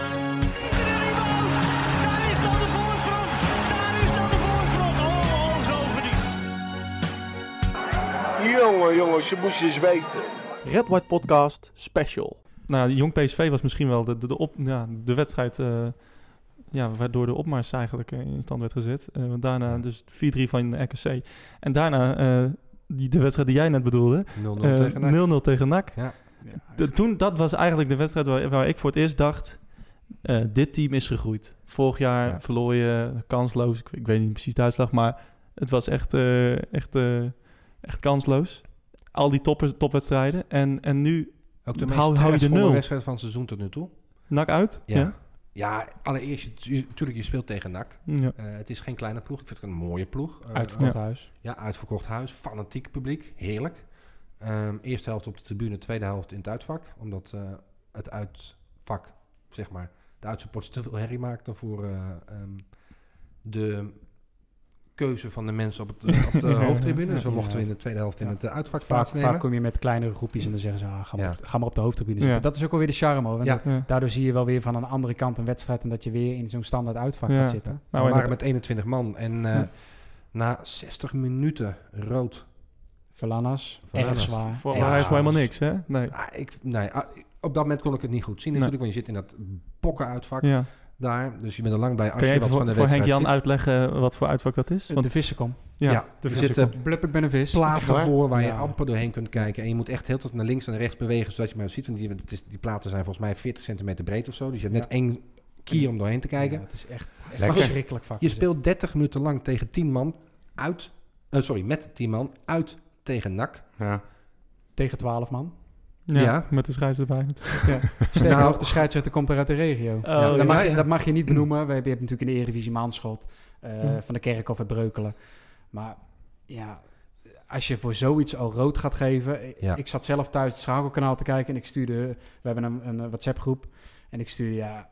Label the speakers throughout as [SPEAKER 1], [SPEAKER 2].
[SPEAKER 1] oh,
[SPEAKER 2] Jongen, jongens, je moest eens weten.
[SPEAKER 3] Red White Podcast Special.
[SPEAKER 4] Nou, ja, Jong PSV was misschien wel de, de, de, op, ja, de wedstrijd eh, ja, waardoor de opmars eigenlijk eh, in stand werd gezet. Eh, want daarna dus 4-3 van RKC. En daarna eh, die, de wedstrijd die jij net bedoelde.
[SPEAKER 5] 0-0
[SPEAKER 4] eh,
[SPEAKER 5] tegen NAC.
[SPEAKER 4] 0-0 tegen NAC.
[SPEAKER 3] Ja,
[SPEAKER 4] De- toen, dat was eigenlijk de wedstrijd waar, waar ik voor het eerst dacht... eh, dit team is gegroeid. Vorig jaar
[SPEAKER 5] Ja.
[SPEAKER 4] verloor je kansloos. Ik, ik weet niet precies de uitslag, maar het was echt, eh, echt, eh, echt kansloos. Al die toppers, topwedstrijden. En, en nu
[SPEAKER 5] Ook de
[SPEAKER 4] Hou-
[SPEAKER 5] meest
[SPEAKER 4] hou je de
[SPEAKER 5] stressvolle
[SPEAKER 4] nul?
[SPEAKER 5] wedstrijd van het seizoen tot nu toe.
[SPEAKER 4] NAC uit.
[SPEAKER 5] Ja. Ja, allereerst, je- tu- tuurlijk, je speelt tegen NAC.
[SPEAKER 4] ja.
[SPEAKER 5] Eh, het is geen kleine ploeg. Ik vind het een mooie ploeg. Eh,
[SPEAKER 6] Uitverkocht huis.
[SPEAKER 5] Ja, uitverkocht huis, fanatiek publiek, heerlijk. Ehm, eerste helft op de tribune, tweede helft in het uitvak. Omdat eh, het uitvak, zeg maar, de uitsupporters te veel herrie maakten voor eh, ehm, de keuze van de mensen op, het, eh, op de hoofdtribune. Dus we
[SPEAKER 6] Ja.
[SPEAKER 5] mochten we in de tweede helft in
[SPEAKER 6] Ja.
[SPEAKER 5] het eh, uitvak
[SPEAKER 6] Vaak,
[SPEAKER 5] plaatsnemen.
[SPEAKER 6] vaak kom je met kleinere groepjes en dan zeggen ze, ah, ga, maar
[SPEAKER 5] Ja.
[SPEAKER 6] op, ga maar op de hoofdtribune zitten.
[SPEAKER 4] Ja.
[SPEAKER 6] Dat is ook alweer de charme hoor. Want
[SPEAKER 5] Ja.
[SPEAKER 6] da- Daardoor zie je wel weer van een andere kant een wedstrijd en dat je weer in zo'n standaard uitvak
[SPEAKER 4] Ja.
[SPEAKER 6] gaat zitten.
[SPEAKER 4] Nou,
[SPEAKER 5] we
[SPEAKER 4] en
[SPEAKER 5] waren met 21 man en eh,
[SPEAKER 4] Ja.
[SPEAKER 5] na 60 minuten rood.
[SPEAKER 6] Verlannas,
[SPEAKER 5] Verlannas.
[SPEAKER 6] erg zwaar.
[SPEAKER 4] Voor
[SPEAKER 5] Ja,
[SPEAKER 4] hij heeft helemaal
[SPEAKER 5] dus-
[SPEAKER 4] niks, hè? Nee.
[SPEAKER 5] Ah, ik, nee, ah, op dat moment kon ik het niet goed zien
[SPEAKER 4] Nee.
[SPEAKER 5] natuurlijk, want je zit in dat bokken uitvak
[SPEAKER 4] Ja.
[SPEAKER 5] daar. Dus je bent er lang bij als
[SPEAKER 4] Kun je
[SPEAKER 5] je
[SPEAKER 4] even
[SPEAKER 5] wat van de
[SPEAKER 4] voor, voor
[SPEAKER 5] wedstrijd
[SPEAKER 4] Henk-Jan
[SPEAKER 5] ziet.
[SPEAKER 4] uitleggen eh, wat voor uitvak dat is?
[SPEAKER 6] Want
[SPEAKER 4] Want,
[SPEAKER 6] de vissen kom.
[SPEAKER 4] ja,
[SPEAKER 5] ja,
[SPEAKER 4] de
[SPEAKER 5] er
[SPEAKER 4] vissen
[SPEAKER 5] zitten
[SPEAKER 4] komen.
[SPEAKER 6] Blup, ik ben een vis.
[SPEAKER 5] platen voor waar je
[SPEAKER 6] Ja.
[SPEAKER 5] amper doorheen kunt kijken. En je moet echt heel tot naar links en naar rechts bewegen, zodat je maar ziet. Want die, het is, die platen zijn volgens mij 40 centimeter breed of zo. Dus je hebt net één kier om doorheen te kijken.
[SPEAKER 6] Ja, het is echt, echt
[SPEAKER 5] Lekker.
[SPEAKER 6] verschrikkelijk vak.
[SPEAKER 5] Je
[SPEAKER 6] is
[SPEAKER 5] speelt 30 minuten lang tegen 10 man uit. eh, sorry, met 10 man uit tegen NAC.
[SPEAKER 7] Ja.
[SPEAKER 6] dit. tegen 12 man.
[SPEAKER 4] Ja,
[SPEAKER 5] Ja.
[SPEAKER 4] met de scheids erbij. natuurlijk.
[SPEAKER 6] Sterker
[SPEAKER 5] Nou.
[SPEAKER 6] nog, de scheidsrechter komt daar uit de regio.
[SPEAKER 4] Oh,
[SPEAKER 6] dat, mag
[SPEAKER 5] ja,
[SPEAKER 6] je,
[SPEAKER 5] ja.
[SPEAKER 6] dat mag je niet benoemen. We hebben, je hebt natuurlijk in de Eredivisie Maanschot eh,
[SPEAKER 4] Ja.
[SPEAKER 6] van de Kerkhof uit Breukelen. Maar ja, als je voor zoiets al rood gaat geven... eh,
[SPEAKER 5] Ja.
[SPEAKER 6] Ik zat zelf thuis het schakelkanaal te kijken en ik stuurde... We hebben een, een WhatsApp-groep en ik stuurde... Ja,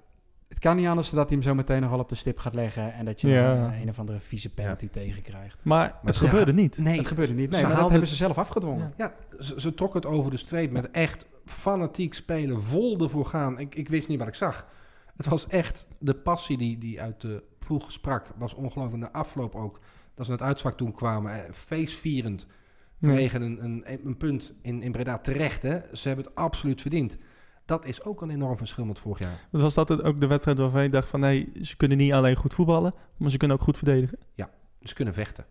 [SPEAKER 6] het kan niet anders dan dat hij hem zo meteen nog wel op de stip gaat leggen... en dat je
[SPEAKER 4] Ja.
[SPEAKER 6] dan, eh, een of andere vieze penalty tegenkrijgt.
[SPEAKER 4] Maar, het
[SPEAKER 5] ze-
[SPEAKER 4] gebeurde niet.
[SPEAKER 5] Nee,
[SPEAKER 6] Het gebeurde niet. Nee, maar
[SPEAKER 5] Ze
[SPEAKER 6] dat
[SPEAKER 5] haalden-
[SPEAKER 6] hebben ze zelf afgedwongen.
[SPEAKER 5] ja, ze, ze trok het over de streep met echt fanatiek spelen, vol ervoor gaan. Ik, ik wist niet wat ik zag. Het was echt de passie die, die uit de ploeg sprak. Was ongelooflijk. Na afloop ook, dat ze naar het uitzwak toen kwamen, eh, feestvierend.
[SPEAKER 4] Nee.
[SPEAKER 5] Tegen een, een, een punt in, in Breda terecht. Hè. Ze hebben het absoluut verdiend. Dat is ook een enorm verschil met vorig jaar.
[SPEAKER 4] Dus was dat het ook de wedstrijd waarvan ik dacht van... nee, ze kunnen niet alleen goed voetballen, maar ze kunnen ook goed verdedigen.
[SPEAKER 5] Ze kunnen vechten.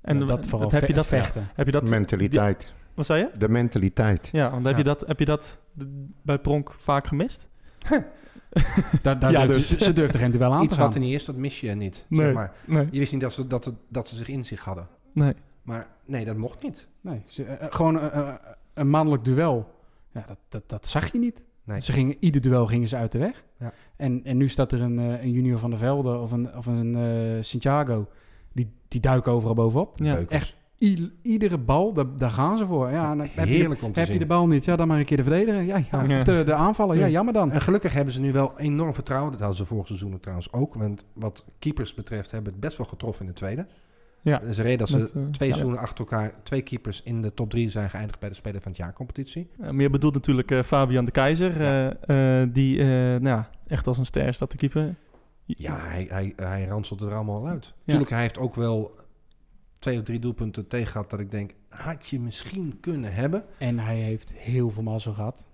[SPEAKER 4] En
[SPEAKER 6] dat
[SPEAKER 4] eh,
[SPEAKER 6] vooral.
[SPEAKER 4] heb je
[SPEAKER 6] Ve-
[SPEAKER 4] dat...
[SPEAKER 6] het vechten.
[SPEAKER 4] Heb je dat
[SPEAKER 7] mentaliteit.
[SPEAKER 4] wat zei je?
[SPEAKER 7] De mentaliteit.
[SPEAKER 4] Ja, want heb
[SPEAKER 5] Ja.
[SPEAKER 4] je dat, heb je dat d- bij Pronk vaak gemist?
[SPEAKER 6] Daar, daar
[SPEAKER 4] Ja,
[SPEAKER 6] durfde-
[SPEAKER 4] dus.
[SPEAKER 6] ze- Ze durfden geen duel aan
[SPEAKER 5] Iets
[SPEAKER 6] te gaan.
[SPEAKER 5] wat er niet is, dat mis je niet.
[SPEAKER 4] Nee.
[SPEAKER 5] Zeg maar.
[SPEAKER 4] Nee.
[SPEAKER 5] Je wist niet dat ze, dat, het- dat ze zich in zich hadden.
[SPEAKER 4] Nee.
[SPEAKER 5] Maar nee, dat mocht niet.
[SPEAKER 6] Nee, ze- eh, eh, gewoon eh, eh, een mannelijk duel. Ja, dat, dat, dat zag je niet.
[SPEAKER 5] Nee.
[SPEAKER 6] Ze gingen, ieder duel gingen ze uit de weg.
[SPEAKER 5] Ja.
[SPEAKER 6] En, en nu staat er een, eh, een junior van der Velde of een, of een eh, Santiago. Die, die duiken overal bovenop.
[SPEAKER 4] Ja.
[SPEAKER 5] Beukels.
[SPEAKER 6] echt. I- iedere bal, daar, daar gaan ze voor. Ja, en
[SPEAKER 5] nou,
[SPEAKER 6] dan heb je,
[SPEAKER 5] Heerlijk om te
[SPEAKER 6] heb je
[SPEAKER 5] zien.
[SPEAKER 6] de bal niet? Ja, dan maar een keer de verdediger. Ja, ja.
[SPEAKER 4] Ja.
[SPEAKER 6] Of de, de aanvaller. Ja,
[SPEAKER 4] Ja.
[SPEAKER 6] jammer dan.
[SPEAKER 5] En gelukkig hebben ze nu wel enorm vertrouwen. Dat hadden ze vorig seizoen trouwens ook. Want wat keepers betreft hebben het best wel getroffen in de tweede.
[SPEAKER 4] Ja.
[SPEAKER 5] Dat is de reden dat ze
[SPEAKER 4] Met, eh,
[SPEAKER 5] twee
[SPEAKER 4] ja.
[SPEAKER 5] seizoenen achter elkaar... twee keepers in de top drie zijn geëindigd bij de Speler van het Jaar competitie.
[SPEAKER 4] Eh, maar je bedoelt natuurlijk eh, Fabian de Keizer, eh, eh, die eh, nou, ja, echt als een ster staat te keeper.
[SPEAKER 5] Ja, hij, hij, hij ranselt er allemaal al uit.
[SPEAKER 4] Ja.
[SPEAKER 5] Tuurlijk, hij heeft ook wel twee of drie doelpunten tegen gehad dat ik denk, had je misschien kunnen hebben.
[SPEAKER 6] En hij heeft heel veel mazzel gehad.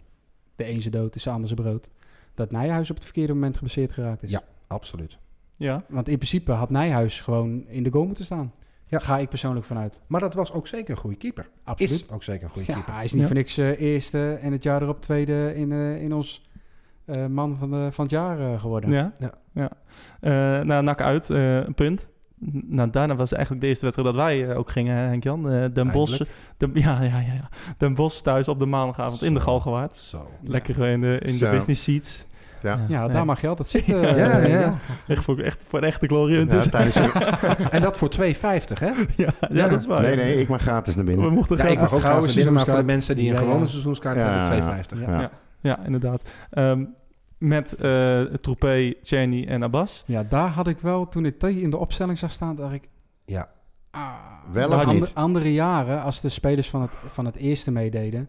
[SPEAKER 6] De een zijn dood, is de ander zijn brood. Dat Nijhuis op het verkeerde moment geblesseerd geraakt is.
[SPEAKER 5] Ja. Absoluut.
[SPEAKER 4] Ja.
[SPEAKER 6] Want in principe had Nijhuis gewoon in de goal moeten staan.
[SPEAKER 5] Ja.
[SPEAKER 6] Ga ik persoonlijk vanuit.
[SPEAKER 5] Maar dat was ook zeker een goede keeper.
[SPEAKER 6] Absoluut.
[SPEAKER 5] Is ook zeker een goede
[SPEAKER 6] Ja,
[SPEAKER 5] keeper.
[SPEAKER 6] hij is niet
[SPEAKER 4] Ja.
[SPEAKER 6] voor niks eh, eerste en het jaar erop tweede in, eh, in ons eh, man van, de, van het jaar eh, geworden.
[SPEAKER 4] Ja.
[SPEAKER 5] Ja.
[SPEAKER 4] ja. Eh, nou, nak uit, eh, een punt. N- Nou, daarna was eigenlijk de eerste wedstrijd dat wij eh, ook gingen, hè, Henk-Jan. Eh, Den Bosch,
[SPEAKER 5] Eindelijk.
[SPEAKER 4] Den, ja, ja, ja, ja. Den Bosch thuis op de maandagavond in de
[SPEAKER 5] Zo.
[SPEAKER 4] Galgenwaard.
[SPEAKER 5] Zo.
[SPEAKER 4] Lekker eh, in de, in de
[SPEAKER 7] Zo.
[SPEAKER 4] business seats.
[SPEAKER 7] Ja.
[SPEAKER 6] Ja, daar
[SPEAKER 4] nee.
[SPEAKER 6] mag je altijd zitten.
[SPEAKER 4] Ja,
[SPEAKER 6] eh,
[SPEAKER 5] ja.
[SPEAKER 4] Echt voor, echt voor de echte glorie. Ja,
[SPEAKER 7] Ja, tijdens een-
[SPEAKER 5] En dat voor 2,50 hè?
[SPEAKER 4] ja, ja, dat is waar.
[SPEAKER 7] nee, nee, ik mag gratis naar
[SPEAKER 4] We
[SPEAKER 7] binnen.
[SPEAKER 4] mochten
[SPEAKER 5] Ja,
[SPEAKER 4] gratis-
[SPEAKER 5] ik mag
[SPEAKER 6] Gouden
[SPEAKER 5] ook trouwens binnen, maar voor de
[SPEAKER 6] seizoenskaart.
[SPEAKER 5] mensen die een
[SPEAKER 6] Ja, ja.
[SPEAKER 5] gewone seizoenskaart
[SPEAKER 7] Ja, ja, ja.
[SPEAKER 5] hebben, 2,50.
[SPEAKER 6] Ja.
[SPEAKER 7] Ja.
[SPEAKER 4] Ja, inderdaad. Ehm, met eh Troepé, Czerny en Abbas.
[SPEAKER 6] Ja, daar had ik wel, toen ik die in de opstelling zag staan, dacht ik...
[SPEAKER 5] Ja.
[SPEAKER 6] ah,
[SPEAKER 7] Wel
[SPEAKER 6] de
[SPEAKER 7] of
[SPEAKER 6] ander-
[SPEAKER 7] niet?
[SPEAKER 6] Andere jaren, als de spelers van het, van het eerste meededen,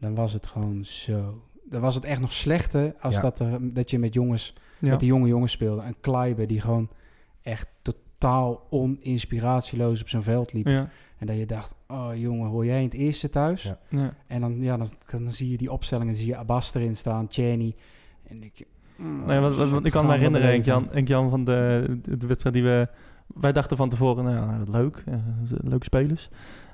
[SPEAKER 6] dan was het gewoon zo... Dan was het echt nog slechter als
[SPEAKER 5] Ja.
[SPEAKER 6] dat, er, dat je met jongens
[SPEAKER 4] Ja.
[SPEAKER 6] met die jonge jongens speelde. En Kleiber die gewoon echt totaal oninspiratieloos op zijn veld liep.
[SPEAKER 4] ja.
[SPEAKER 6] En dat je dacht, oh jongen, hoor jij in het eerste thuis?
[SPEAKER 5] Ja.
[SPEAKER 4] Ja.
[SPEAKER 6] En dan, ja, dan, dan zie je die opstellingen, dan zie je Abbas erin staan, Cheney. En ik... mm,
[SPEAKER 4] Nee, want, want- want ik kan me
[SPEAKER 6] gaan we
[SPEAKER 4] herinneren, Henk
[SPEAKER 6] beleven?
[SPEAKER 4] Jan, Henk Jan van de, de, de wedstrijd die we... Wij dachten van tevoren, nou, leuk. eh, leuke spelers.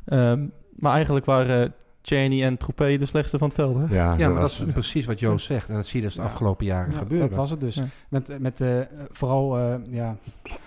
[SPEAKER 4] Ehm, maar eigenlijk waren eh, Cheney en Troepé de slechtste van het veld, hè?
[SPEAKER 7] Ja,
[SPEAKER 5] Ja,
[SPEAKER 7] dat
[SPEAKER 5] maar dat
[SPEAKER 7] was,
[SPEAKER 5] is precies wat Joost zegt. En dat zie je dus de
[SPEAKER 6] Ja.
[SPEAKER 5] afgelopen jaren
[SPEAKER 6] Ja,
[SPEAKER 5] gebeuren.
[SPEAKER 6] Dat was het dus.
[SPEAKER 4] Ja.
[SPEAKER 6] Met, met eh, vooral eh, ja,